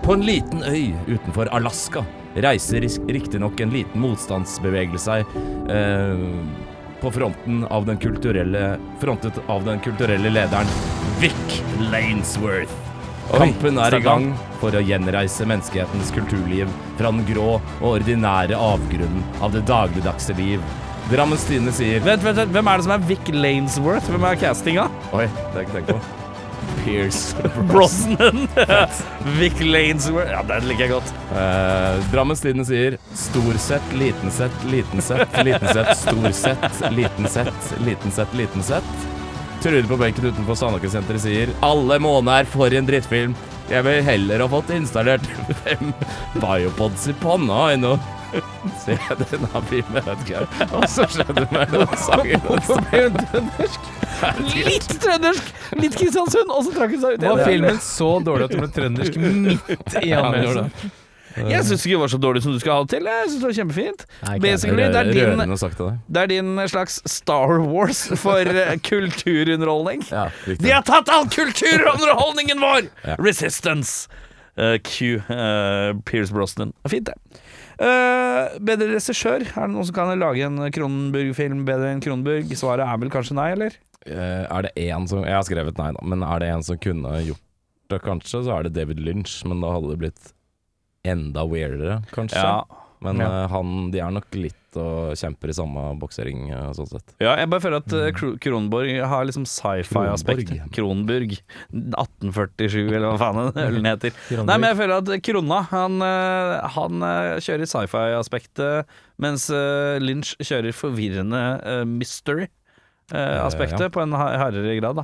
Speaker 4: På en liten øy utenfor Alaska reiser riktignok en liten motstandsbevegelse seg eh, på fronten av den kulturelle Frontet av den kulturelle lederen Vic Lanesworth. Kampen er i gang for å gjenreise menneskehetens kulturliv fra den grå og ordinære avgrunnen av det dagligdagse liv. Drammens Tidende sier
Speaker 2: Vent, vent, vent, hvem er det som er Vic Lanesworth? Hvem er castinga?
Speaker 4: Oi, det har jeg ikke tenkt på. Pierce
Speaker 2: Brosnan! Vic Lanesworth. Ja, den liker jeg godt.
Speaker 4: Eh, Drammens Tidende sier storsett, liten sett, liten sett, liten sett, storsett, liten sett, liten sett, liten sett. Trude på benken utenfor Sandaker-senteret sier alle måneder for en drittfilm. Jeg vil heller ha fått installert fem biopods i panna enn å se denne filmen. Jeg vet ikke hva som skjedde med den sangen. Hvorfor ble hun trøndersk?
Speaker 2: Litt trøndersk, litt Kristiansund, og så trakk hun seg ut
Speaker 3: Var
Speaker 2: igjen.
Speaker 3: filmen så dårlig at det ble trøndersk midt i anmeldelsen?
Speaker 2: Jeg syns ikke det var så dårlig som du skal ha det til. Jeg synes det var kjempefint.
Speaker 3: Nei, ikke
Speaker 2: Basically, det er din,
Speaker 4: Rørende sagt av deg.
Speaker 2: det er din slags Star Wars for eh, kulturunderholdning.
Speaker 4: Ja,
Speaker 2: De
Speaker 4: riktig.
Speaker 2: har tatt all kulturunderholdningen vår!
Speaker 4: Ja.
Speaker 2: Resistance. Eh, Q. eh, Pierce Brosnan. Fint, det. Eh, bedre regissør? Er det noen som kan lage en Kronenburg-film bedre enn Kronenburg? Svaret er vel kanskje nei, eller?
Speaker 4: Eh, er det én som Jeg har skrevet nei, da. Men er det en som kunne gjort det, kanskje, så er det David Lynch. Men da hadde det blitt enda weirdere, kanskje. Men
Speaker 2: Ja.
Speaker 4: eh, han, de er nok litt og kjemper i samme boksering, eh, sånn sett.
Speaker 2: Ja, jeg bare føler at eh, Kro- Kronborg har liksom sci-fi-aspekt.
Speaker 4: Kronborg.
Speaker 2: Kronburg. 1847, eller hva faen den ølen heter.
Speaker 3: Kronborg.
Speaker 2: Nei, men jeg føler at Krona, han, eh, han eh, kjører sci-fi-aspektet, mens eh, Lynch kjører forvirrende eh, mystery-aspektet
Speaker 4: ja.
Speaker 2: på en ha- hardere grad, da.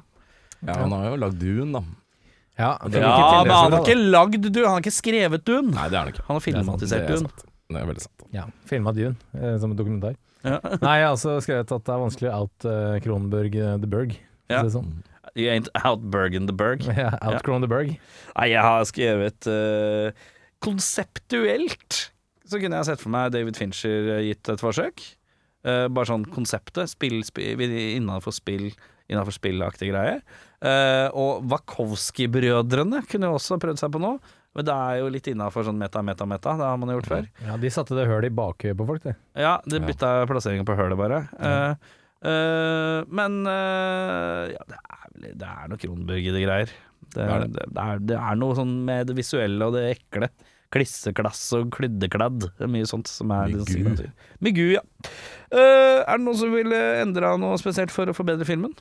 Speaker 4: Ja, han har jo lagd Dune, da.
Speaker 3: Ja, det fikk ikke til
Speaker 4: Ja,
Speaker 2: men
Speaker 3: det
Speaker 2: han har
Speaker 3: så bra, da.
Speaker 2: ikke lagd Dune, han har ikke skrevet Dune.
Speaker 4: Nei, det er han ikke.
Speaker 2: Han har
Speaker 4: Det er
Speaker 2: filmatisert Dune.
Speaker 4: sant. Det er veldig sant.
Speaker 3: ja, Filma Dune eh, som en dokumentar.
Speaker 2: Ja.
Speaker 3: Nei, jeg har også skrevet at det er vanskelig out eh, Kronenberg eh, the Berg. for
Speaker 2: Ja.
Speaker 3: å si det Sånn.
Speaker 2: You ain't out Bergen the Berg.
Speaker 3: Ja, out
Speaker 2: Ja.
Speaker 3: Kronenberg.
Speaker 2: Nei, jeg har skrevet eh, Konseptuelt så kunne jeg sett for meg David Fincher eh, gitt et forsøk. Eh, bare sånn konseptet. Spill, spill, innenfor spill Innenfor spillaktig greie. Eh, og Wachowski-brødrene kunne jo også prøvd seg på noe. Men det er jo litt innafor sånn meta, meta, meta. Det har man jo gjort før.
Speaker 3: Ja, de satte det hølet i bakhøyet på folk, det.
Speaker 2: Ja, det bytta plasseringen på hølet, bare. Eh, eh, men eh, ja, det er, vel- det er noe Kronborg i det greier. Det,
Speaker 4: er
Speaker 2: er det. Det, er, det er noe sånn med det visuelle og det ekle. Klisseklass og klyddekladd. Det er mye sånt som er
Speaker 4: Migu.
Speaker 2: din signatur. Migu, ja. Eh, er det noen som ville endra noe spesielt for å forbedre filmen?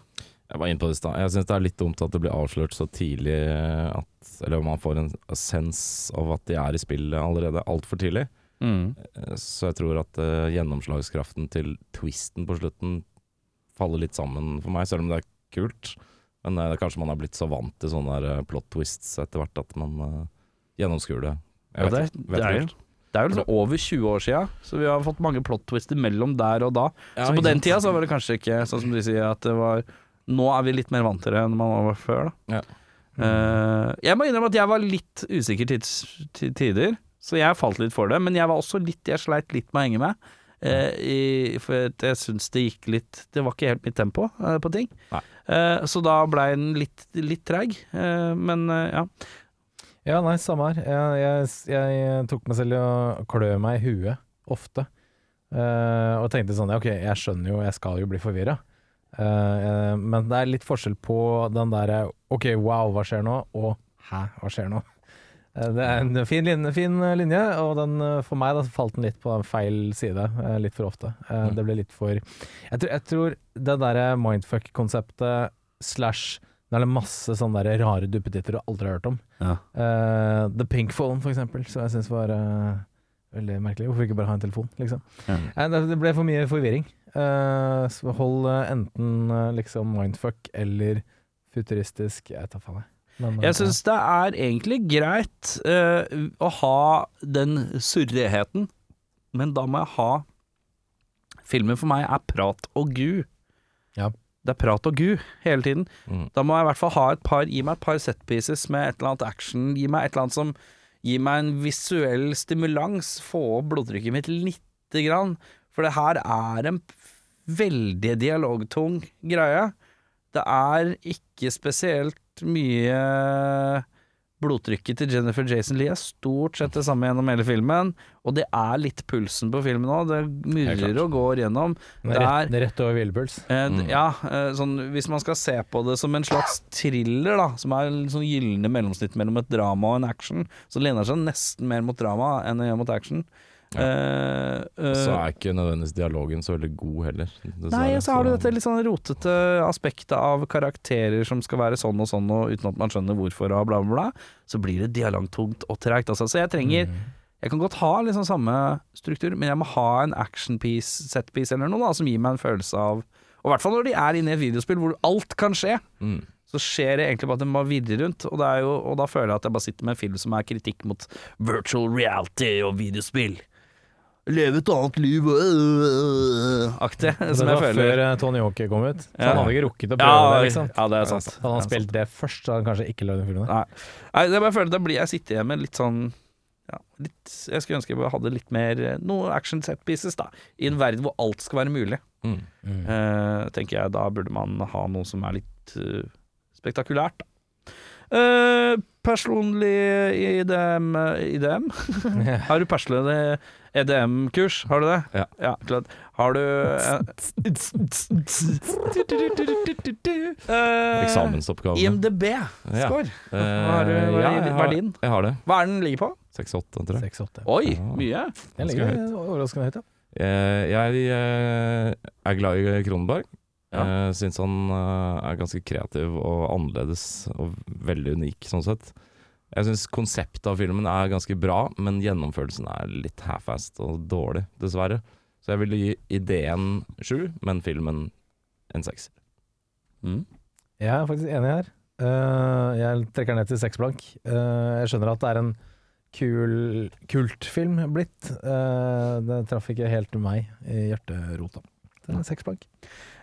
Speaker 4: Jeg var inne på det i stad. Jeg syns det er litt dumt at det blir avslørt så tidlig eh, at Eller man får en sens av at de er i spillet allerede altfor tidlig. Eh, Så jeg tror at eh, gjennomslagskraften til twisten på slutten faller litt sammen for meg, selv om det er kult. Men eh, det er kanskje man er blitt så vant til sånne der eh, plot twists etter hvert at man eh, gjennomskuer det. Jeg
Speaker 2: Ja,
Speaker 4: vet
Speaker 2: det-
Speaker 4: ikke, vet
Speaker 2: det er jo-
Speaker 4: ikke helt. Altså,
Speaker 2: Det er jo liksom over 20 år sia, så vi har fått mange plot twister mellom der og da.
Speaker 4: Ja,
Speaker 2: så på
Speaker 4: ikke
Speaker 2: den
Speaker 4: sant.
Speaker 2: tida så var det kanskje ikke sånn som du sier at det var Nå er vi litt mer vant til det enn man var før, da.
Speaker 4: Ja.
Speaker 2: Eh, jeg må innrømme at jeg var litt usikker tids, til tider, så jeg falt litt for det. Men jeg var også litt Jeg sleit litt med å henge med. eh, i, for at jeg syns det gikk litt Det var ikke helt mitt tempo eh, på ting.
Speaker 4: Nei.
Speaker 2: Eh, så da blei den litt, litt treig. eh, men eh, ja.
Speaker 3: Ja, nei, samme her. Jeg, jeg, jeg tok meg selv i å klø meg i huet ofte. Eh, og tenkte sånn, ja, ok, jeg skjønner jo, jeg skal jo bli forvirra. men det er litt forskjell på den derre ok, wow, hva skjer nå? Og hæ, hva skjer nå? Eh, det er en fin linje, fin linje og den, eh, for meg da, så falt den litt på feil side eh, litt for ofte. Eh, Det ble litt for Jeg tror, jeg tror det derre mindfuck-konseptet slash Nå er det masse sånne der rare duppetitter du aldri har hørt om. Eh, The Pink Phone, for eksempel, som jeg syns var eh, veldig merkelig. Hvorfor ikke bare ha en telefon, liksom? Eh, det- det ble for mye forvirring. Eh, så hold eh, enten eh, liksom mindfuck eller futuristisk Jeg tar faen, jeg. Men, eh,
Speaker 2: Jeg syns det er egentlig greit eh, å ha den surreheten, men da må jeg ha Filmen for meg er prat og gu.
Speaker 3: Ja.
Speaker 2: Det er prat og gu hele tiden.
Speaker 4: Mm.
Speaker 2: Da må jeg i hvert fall ha et par, gi meg et par setpieces med et eller annet action. Gi meg et eller annet som gir meg en visuell stimulans. Få opp blodtrykket mitt lite grann. For det her er en veldig dialogtung greie. Det er ikke spesielt mye Blodtrykket til Jennifer Jason Lee er stort sett det samme gjennom hele filmen, og det er litt pulsen på filmen òg. Det
Speaker 4: Helt
Speaker 2: murrer
Speaker 4: klart.
Speaker 2: og går gjennom.
Speaker 3: Det er rett, det er rett over Wilburls.
Speaker 2: Eh, d- Ja, eh, sånn, hvis man skal se på det som en slags thriller, da, som er en sånn gylne mellomsnitt mellom et drama og en action, så lener det seg nesten mer mot drama enn det gjør mot action. Eh, eh,
Speaker 4: Så er ikke nødvendigvis dialogen så veldig god heller.
Speaker 2: Nei,
Speaker 4: dessverre.
Speaker 2: så har du dette litt sånn rotete aspektet av karakterer som skal være sånn og sånn, og uten at man skjønner hvorfor og bla, bla, bla. Så blir det dialogtungt og treigt. Altså. Så jeg trenger Jeg kan godt ha liksom samme struktur, men jeg må ha en action-piece, set-piece eller noe da, som gir meg en følelse av Og i hvert fall når de er inne i et videospill hvor alt kan skje,
Speaker 4: Mm.
Speaker 2: så skjer det egentlig bare at den bare virrer rundt. Og, det er jo, og da føler jeg at jeg bare sitter med en film som er kritikk mot virtual reality og videospill. Leve et annet liv øh, Aktig,
Speaker 3: Det
Speaker 2: som jeg
Speaker 3: var
Speaker 2: føler.
Speaker 3: før eh, Tony Hawk kom ut, så
Speaker 2: Ja.
Speaker 3: han hadde ikke rukket å prøve
Speaker 2: Ja,
Speaker 3: det. liksom.
Speaker 2: ja, det er sant.
Speaker 3: Hadde han spilt det først, så hadde han kanskje ikke lagd den filmen.
Speaker 2: Nei, Nei det er bare jeg føler Da blir jeg sitter hjemme litt sånn ja, litt, Jeg skulle ønske jeg bare hadde litt mer eh, Noen action set pieces da I en verden hvor alt skal være mulig
Speaker 4: Mm.
Speaker 2: eh, Tenker jeg da burde man ha noe som er litt eh, Spektakulært da Eh, personlig E IDM, IDM? Har du personlig EDM-kurs? Har du det?
Speaker 4: Ja.
Speaker 2: klart. Har du eh,
Speaker 4: Eksamensoppgavene. Ja.
Speaker 2: IMDb-score?
Speaker 4: Eh,
Speaker 2: Hva er det- hva er
Speaker 4: ja,
Speaker 2: det- hva
Speaker 4: jeg
Speaker 2: er
Speaker 4: har-
Speaker 2: din?
Speaker 4: Jeg har det.
Speaker 2: Hva er den ligger på? Ah.
Speaker 4: 6-8, tror jeg.
Speaker 3: 6-8.
Speaker 2: Oi,
Speaker 4: Ja.
Speaker 2: mye.
Speaker 3: Jeg
Speaker 4: Ganske
Speaker 3: ligger overraskende høyt, ja.
Speaker 4: Eh, jeg eh, er glad i Kronenberg.
Speaker 2: Ja.
Speaker 4: Ja. Syns han eh, er ganske kreativ og annerledes og veldig unik, sånn sett. Jeg syns konseptet av filmen er ganske bra, men gjennomførelsen er litt half-assed og dårlig, dessverre. Så jeg ville gi ideen sju, men filmen en sekser.
Speaker 2: Mm.
Speaker 3: Jeg er faktisk enig her. Eh, jeg trekker ned til seks blank. Eh, jeg skjønner at det er en kul kultfilm blitt. Eh, det traff ikke helt meg i hjerterota. Det er seks blank.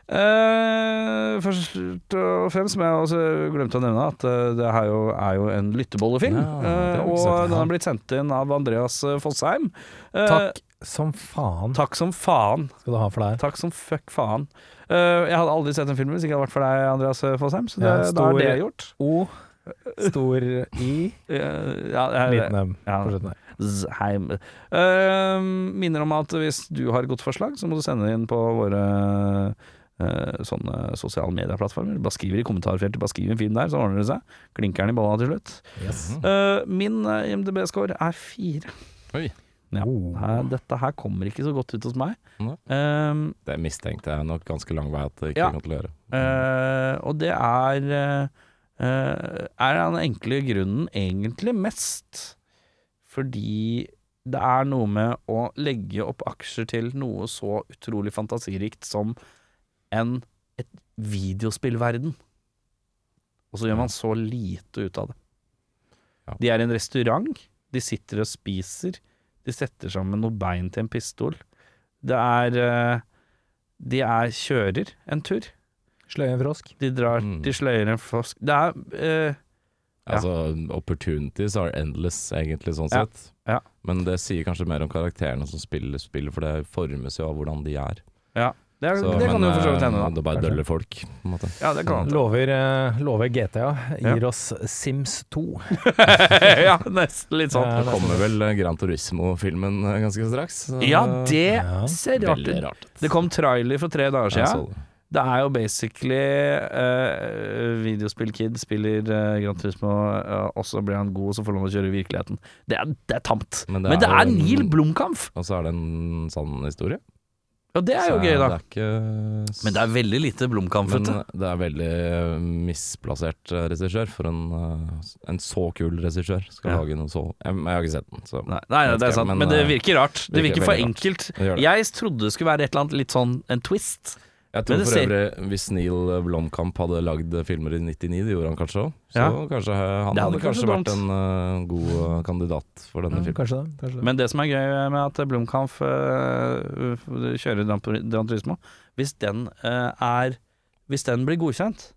Speaker 2: Eh, først og fremst som jeg også glemte å nevne, at eh, det her jo, er jo en lyttebollefilm.
Speaker 4: Ja, det har
Speaker 2: eh,
Speaker 4: vi ikke
Speaker 2: og
Speaker 4: sagt.
Speaker 2: den har blitt sendt inn av Andreas eh, Fosheim. Eh,
Speaker 3: Takk som faen
Speaker 2: takk som faen.
Speaker 3: skal du ha for det her.
Speaker 2: Takk som fuck faen. Eh, jeg hadde aldri sett den filmen hvis det ikke hadde vært for deg, Andreas Fosheim, så det,
Speaker 3: Ja,
Speaker 2: da
Speaker 3: stor-
Speaker 2: er det gjort.
Speaker 3: O, stor I,
Speaker 2: Eh, ja, jeg-
Speaker 3: liten M.
Speaker 2: ja.
Speaker 3: på slutten her.
Speaker 2: Zheim. Eh, minner om at hvis du har et godt forslag, så må du sende det inn på våre eh, sånne sosiale medieplattformer. Bare skriv i kommentarfeltet, bare skriv en film der, så ordner det seg. Klinker den i balla til slutt.
Speaker 3: Mhm.
Speaker 2: Eh, min eh, IMDb-score er fire.
Speaker 4: Oi.
Speaker 2: Ja.
Speaker 3: Oh.
Speaker 2: Her, dette her kommer ikke så godt ut hos meg.
Speaker 4: Nei.
Speaker 2: Ehm,
Speaker 4: Det mistenkte jeg nok ganske lang vei at det ikke
Speaker 2: Ja.
Speaker 4: kom til å gjøre.
Speaker 2: Eh, og det er eh, eh, Er den enkle grunnen egentlig mest fordi det er noe med å legge opp aksjer til noe så utrolig fantasirikt som en et videospillverden. Og så gjør man så lite ut av det.
Speaker 4: Ja.
Speaker 2: De er i en restaurant, de sitter og spiser, de setter sammen noe bein til en pistol. Det er eh, De er kjører en tur.
Speaker 3: Sløye en frosk.
Speaker 2: De drar,
Speaker 4: Mm.
Speaker 2: de sløyer en frosk Det er eh, Ja.
Speaker 4: Altså, opportunities are endless, egentlig, sånn
Speaker 2: Ja.
Speaker 4: sett.
Speaker 2: Ja.
Speaker 4: Men det sier kanskje mer om karakterene som spiller spillet, for det formes jo av hvordan de er.
Speaker 2: Ja, det, er,
Speaker 4: Så,
Speaker 2: det kan
Speaker 4: men,
Speaker 2: jo for så vidt
Speaker 4: eh,
Speaker 2: hende, da.
Speaker 4: Det bare
Speaker 3: Kanskje.
Speaker 4: døller folk, på en måte.
Speaker 2: Ja, det kan
Speaker 3: Lover, eh, lover GTA. Gir oss Sims 2.
Speaker 2: ja, nesten litt sånn.
Speaker 3: Ja,
Speaker 4: Det kommer vel eh, Gran Turismo-filmen eh, ganske straks. så-
Speaker 2: Ja, det
Speaker 3: Ja.
Speaker 2: ser rart
Speaker 4: Veldig
Speaker 2: ut.
Speaker 4: rart.
Speaker 2: Det kom trailer for tre dager
Speaker 4: Jeg så
Speaker 2: siden.
Speaker 4: det.
Speaker 2: Det er jo basically eh, Videospill-kid spiller eh, Gran Turismo, eh, og så blir han god, og så får han lov å kjøre i virkeligheten. Det er, det er tamt.
Speaker 4: Men det
Speaker 2: Men det
Speaker 4: er
Speaker 2: er
Speaker 4: jo en-
Speaker 2: Neil Blomkamp!
Speaker 4: Og så er det en sann historie.
Speaker 2: Og det er jo
Speaker 4: Så
Speaker 2: gøy, da.
Speaker 4: Det er ikke s-
Speaker 2: Men det er veldig lite
Speaker 4: men
Speaker 2: Blomkamp-fete.
Speaker 4: det er veldig eh, misplassert eh, regissør for en, eh, en så kul regissør skal
Speaker 2: Ja.
Speaker 4: lage noe så jeg, jeg har ikke sett den, så
Speaker 2: Nei, nei, nei, det er sant, men det
Speaker 4: eh,
Speaker 2: virker rart. Det
Speaker 4: virker
Speaker 2: virker for
Speaker 4: veldig rart.
Speaker 2: enkelt.
Speaker 4: det gjør det.
Speaker 2: Jeg trodde det skulle være et eller annet litt sånn en twist.
Speaker 4: Jeg tror
Speaker 2: Men det
Speaker 4: for
Speaker 2: ser-
Speaker 4: øvrig hvis Neil Blomkamp hadde lagd filmer i 99, det gjorde han kanskje òg, så
Speaker 2: Ja.
Speaker 4: kanskje eh, han
Speaker 2: Det hadde
Speaker 4: hadde kanskje
Speaker 2: kanskje
Speaker 4: vært en eh, god eh, kandidat for denne
Speaker 3: Ja,
Speaker 4: filmen.
Speaker 3: kanskje det. Kanskje det.
Speaker 2: Men det som er gøy med at Blomkamp øh, øh, kjører Gran Tur- Gran Turismo Hvis den øh, er Hvis den blir godkjent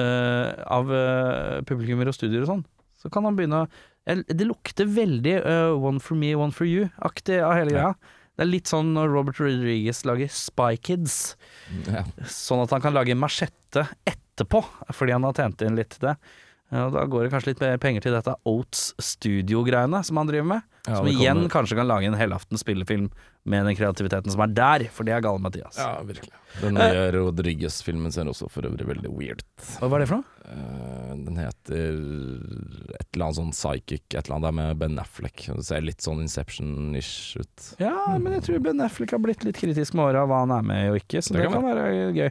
Speaker 2: øh, av øh, publikummer og studier og sånn, så eh, kan han begynne å jeg- Det lukter veldig øh, One for me, one for you-aktig av hele
Speaker 4: Ja.
Speaker 2: greia. Det er litt sånn når Robert Rodriguez lager Spy Kids,
Speaker 4: Ja.
Speaker 2: sånn at han kan lage machette etterpå, fordi han har tjent inn litt til det. Ja, da går det kanskje litt mer penger til dette Oats Studio-greiene som han driver med.
Speaker 4: Ja,
Speaker 2: som
Speaker 4: det
Speaker 2: igjen
Speaker 4: kommer-
Speaker 2: kanskje kan lage en helaftens spillefilm med den kreativiteten som er der, for det er gale Mathias.
Speaker 4: Ja, virkelig. Den
Speaker 2: Eh.
Speaker 4: nye Rodriguez-filmen ser også for øvrig veldig weird.
Speaker 2: Hva var det for noe?
Speaker 4: Eh, Den heter et eller annet sånn psychic, et eller annet der med Ben Affleck. Det ser litt sånn Inception-ish ut.
Speaker 2: Ja, men jeg tror Ben Affleck har blitt litt kritisk med åra hva han er med og ikke, så det,
Speaker 4: Det kan
Speaker 2: kan være gøy.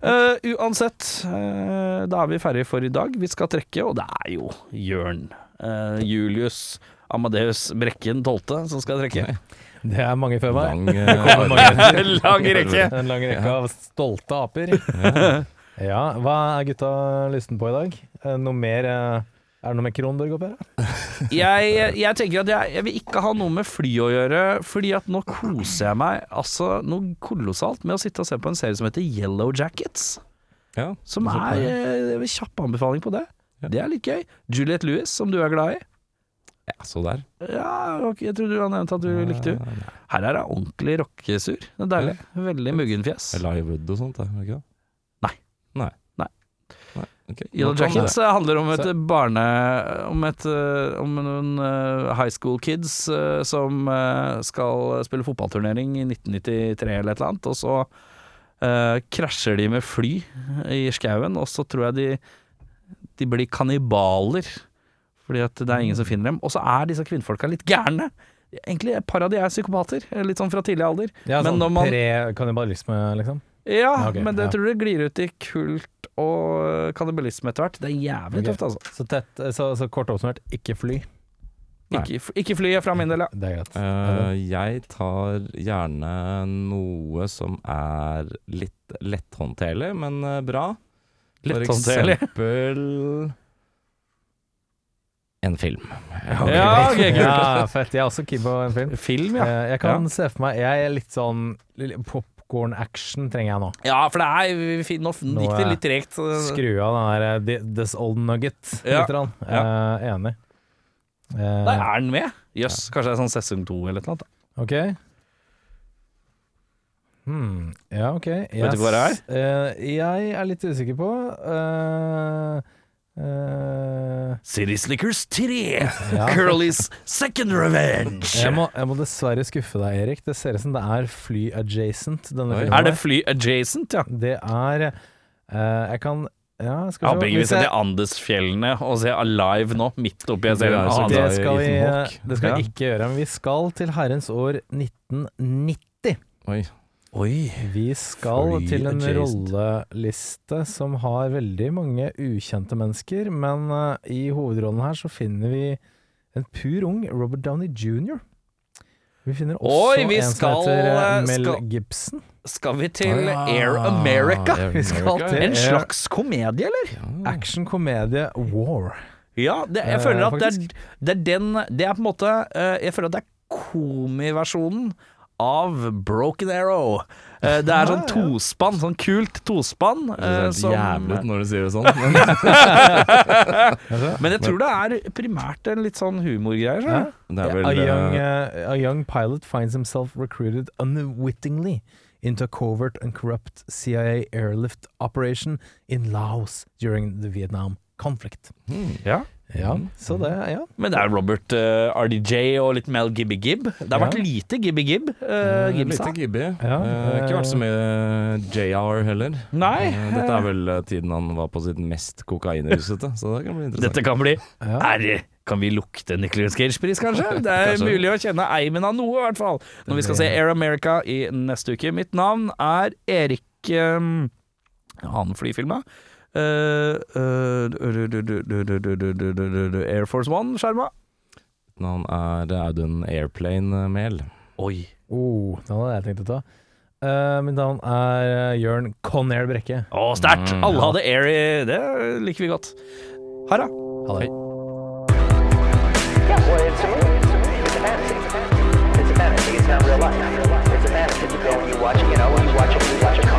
Speaker 2: Eh, uansett, eh, da er vi ferdige for i dag. Vi skal trekke, og det er jo Jørn eh, Julius Amadeus Brekken 12. som skal trekke.
Speaker 3: Det er mange før meg.
Speaker 4: Lang, eh,
Speaker 2: Lang rekke!
Speaker 3: En lang rekke av stolte aper. Ja, hva er gutta lysten på i dag? Eh, Noe mer eh, Er det noe med Kronborg oppi her?
Speaker 2: jeg, jeg tenker at jeg, jeg vil ikke ha noe med fly å gjøre, fordi at nå koser jeg meg altså noe kolossalt med å sitte og se på en serie som heter Yellow Jackets.
Speaker 4: ja.
Speaker 2: Som er eh, kjapp anbefaling på det. Det er litt gøy. Juliette Lewis, som du er glad i.
Speaker 4: ja, så der. Eh,
Speaker 2: Ja, ok, jeg tror du har nevnt at du likte henne. Her er det ordentlig rockesur. Det er deilig. Veldig muggenfjes.
Speaker 4: Livewood og sånt, er det ikke det?
Speaker 2: Nei.
Speaker 4: Nei.
Speaker 2: Nei.
Speaker 4: Nei, ok.
Speaker 2: Yellow
Speaker 4: Nå kan
Speaker 2: Jackets eh, handler om et
Speaker 4: Så-
Speaker 2: barne... Om, et, eh, om noen eh, high school kids eh, som eh, skal spille fotballturnering i 1993 eller et eller annet, og så eh, krasjer de med fly i skauen, og så tror jeg de, de blir kannibaler, fordi at det er ingen som finner dem. Og så er disse kvinnfolka litt gærne. Egentlig et par av de er psykopater, litt sånn fra tidlig alder.
Speaker 3: Ja,
Speaker 2: Men
Speaker 3: sånn
Speaker 2: når man-
Speaker 3: Pre-kannibalisme, liksom?
Speaker 2: Ja,
Speaker 3: Ja, ok,
Speaker 2: men det
Speaker 3: ja.
Speaker 2: tror jeg glir ut i kult og eh, kannibalisme etter hvert. Det er jævlig
Speaker 3: Ok.
Speaker 2: tøft, altså.
Speaker 3: Så, tett, eh, så, så kort oppsummert, ikke fly.
Speaker 4: Nei.
Speaker 2: Ikke, f- ikke flyet fra min del, ja.
Speaker 3: Det er greit.
Speaker 4: Eh, jeg tar gjerne noe som er litt letthåndterlig, men eh, bra.
Speaker 2: Letthåndterlig.
Speaker 4: For eksempel en film.
Speaker 2: Ja, ok, kult.
Speaker 3: Ja, fett. Jeg er også keen på en film.
Speaker 2: Film, ja.
Speaker 3: Eh, Jeg kan se for meg Jeg er litt sånn Popkorn-action trenger jeg nå.
Speaker 2: Ja, for det er vi fin- Nå
Speaker 3: Nå
Speaker 2: gikk det
Speaker 3: er-
Speaker 2: litt tregt. så-
Speaker 3: Skru av den der eh, thi- This Old Nugget
Speaker 2: Ja.
Speaker 3: litt. Rann. Eh, enig. Eh,
Speaker 2: Der er den med. Jøss, kanskje det er sånn sesong to eller noe. da.
Speaker 3: Ok. Hmm. Ja, ok.
Speaker 2: Vet du hva det
Speaker 3: er? jeg er litt usikker på eh, eh,
Speaker 2: City Slickers 3!
Speaker 3: ja.
Speaker 2: Curlys second revenge!
Speaker 3: jeg, må, jeg må dessverre skuffe deg, Erik. Det ser ut som det er fly adjacent, denne
Speaker 4: Oi.
Speaker 3: filmen.
Speaker 2: Er det fly adjacent, ja?
Speaker 3: Det er eh, Jeg kan Ja,
Speaker 2: Jeg
Speaker 3: skal
Speaker 2: håper ikke vi
Speaker 3: Hvis jeg-
Speaker 2: sitter i Andesfjellene og ser Alive nå, midt oppi en serie.
Speaker 4: Det er så
Speaker 2: Ah,
Speaker 4: gøy.
Speaker 2: altså.
Speaker 3: det skal vi,
Speaker 4: Ethan Hawke.
Speaker 3: det skal vi
Speaker 2: Ja.
Speaker 3: ikke gjøre, men vi skal til herrens år 1990.
Speaker 4: Oi.
Speaker 2: Oi.
Speaker 3: Vi skal
Speaker 4: Fly
Speaker 3: til en
Speaker 4: adjacent.
Speaker 3: rolleliste som har veldig mange ukjente mennesker, men eh, i hovedrollen her så finner vi en pur ung Robert Downey jr. Vi finner også
Speaker 2: Oi, vi
Speaker 3: en
Speaker 2: skal,
Speaker 3: som heter eh,
Speaker 2: eh,
Speaker 3: Mel
Speaker 2: skal-
Speaker 3: Gibson.
Speaker 2: Skal vi til
Speaker 4: Ah,
Speaker 2: Air America?
Speaker 4: Air
Speaker 3: Vi skal
Speaker 4: America,
Speaker 3: til-
Speaker 2: En slags komedie, eller?
Speaker 4: ja.
Speaker 3: Action komedie War.
Speaker 2: Ja, det, jeg
Speaker 3: Eh,
Speaker 2: føler at det er, det er den Det er på en måte eh, Jeg føler at det er komiversjonen av Broken Arrow. Eh, det er sånn tospann, sånn kult tospann.
Speaker 4: Det
Speaker 2: eh,
Speaker 4: ser
Speaker 2: som-
Speaker 4: helt jævlig ut når du sier det sånn. Men
Speaker 2: men jeg tror det er primært en litt sånn humorgreier. skjønner du?
Speaker 4: det er
Speaker 3: a,
Speaker 4: vel
Speaker 3: young,
Speaker 4: eh,
Speaker 3: eh, a young pilot finds himself recruited unwittingly into a covert and corrupt CIA airlift operation in Laos during the Vietnam conflict.
Speaker 4: hmm.
Speaker 2: Ja.
Speaker 3: Ja,
Speaker 4: Mm.
Speaker 3: så det, ja.
Speaker 2: Men det er Robert eh, RDJ og litt Mel Gibby Gibb. Det har
Speaker 3: Ja.
Speaker 2: vært lite Gibby Gibb. Uh,
Speaker 4: Eh, Litt gibby.
Speaker 3: Ja,
Speaker 4: Eh, ikke vært så
Speaker 2: eh,
Speaker 4: mye JR heller.
Speaker 2: Nei.
Speaker 4: Eh, Dette er vel eh, tiden han var på sitt mest kokainrusete, så det kan bli interessant.
Speaker 2: Dette kan bli
Speaker 3: ja.
Speaker 2: Ære! Kan vi lukte Nicolas Cage-pris, kanskje? Det er
Speaker 4: Kanskje.
Speaker 2: mulig å kjenne eimen av noe, i hvert fall. Når vi skal se Air America i neste uke. Mitt navn er Erik um, Han flyfilma. Eh, eh, Air Force One-skjerma.
Speaker 4: Han er Audun Airplane-mel.
Speaker 2: Oi.
Speaker 3: Oh, den hadde jeg tenkt å ta. Eh, mitt navn er eh, Jørn Conair Brekke.
Speaker 2: Å, sterkt!
Speaker 4: Mm,
Speaker 2: Alle
Speaker 4: ja.
Speaker 2: hadde air i Det liker vi godt. Ha det.
Speaker 3: Ha det.
Speaker 5: Yeah, well, it's a movie. It's a fantasy. It's a fantasy. It's not real life. It's a fantasy. You go and you watch, you know, and you watch it, you watch it come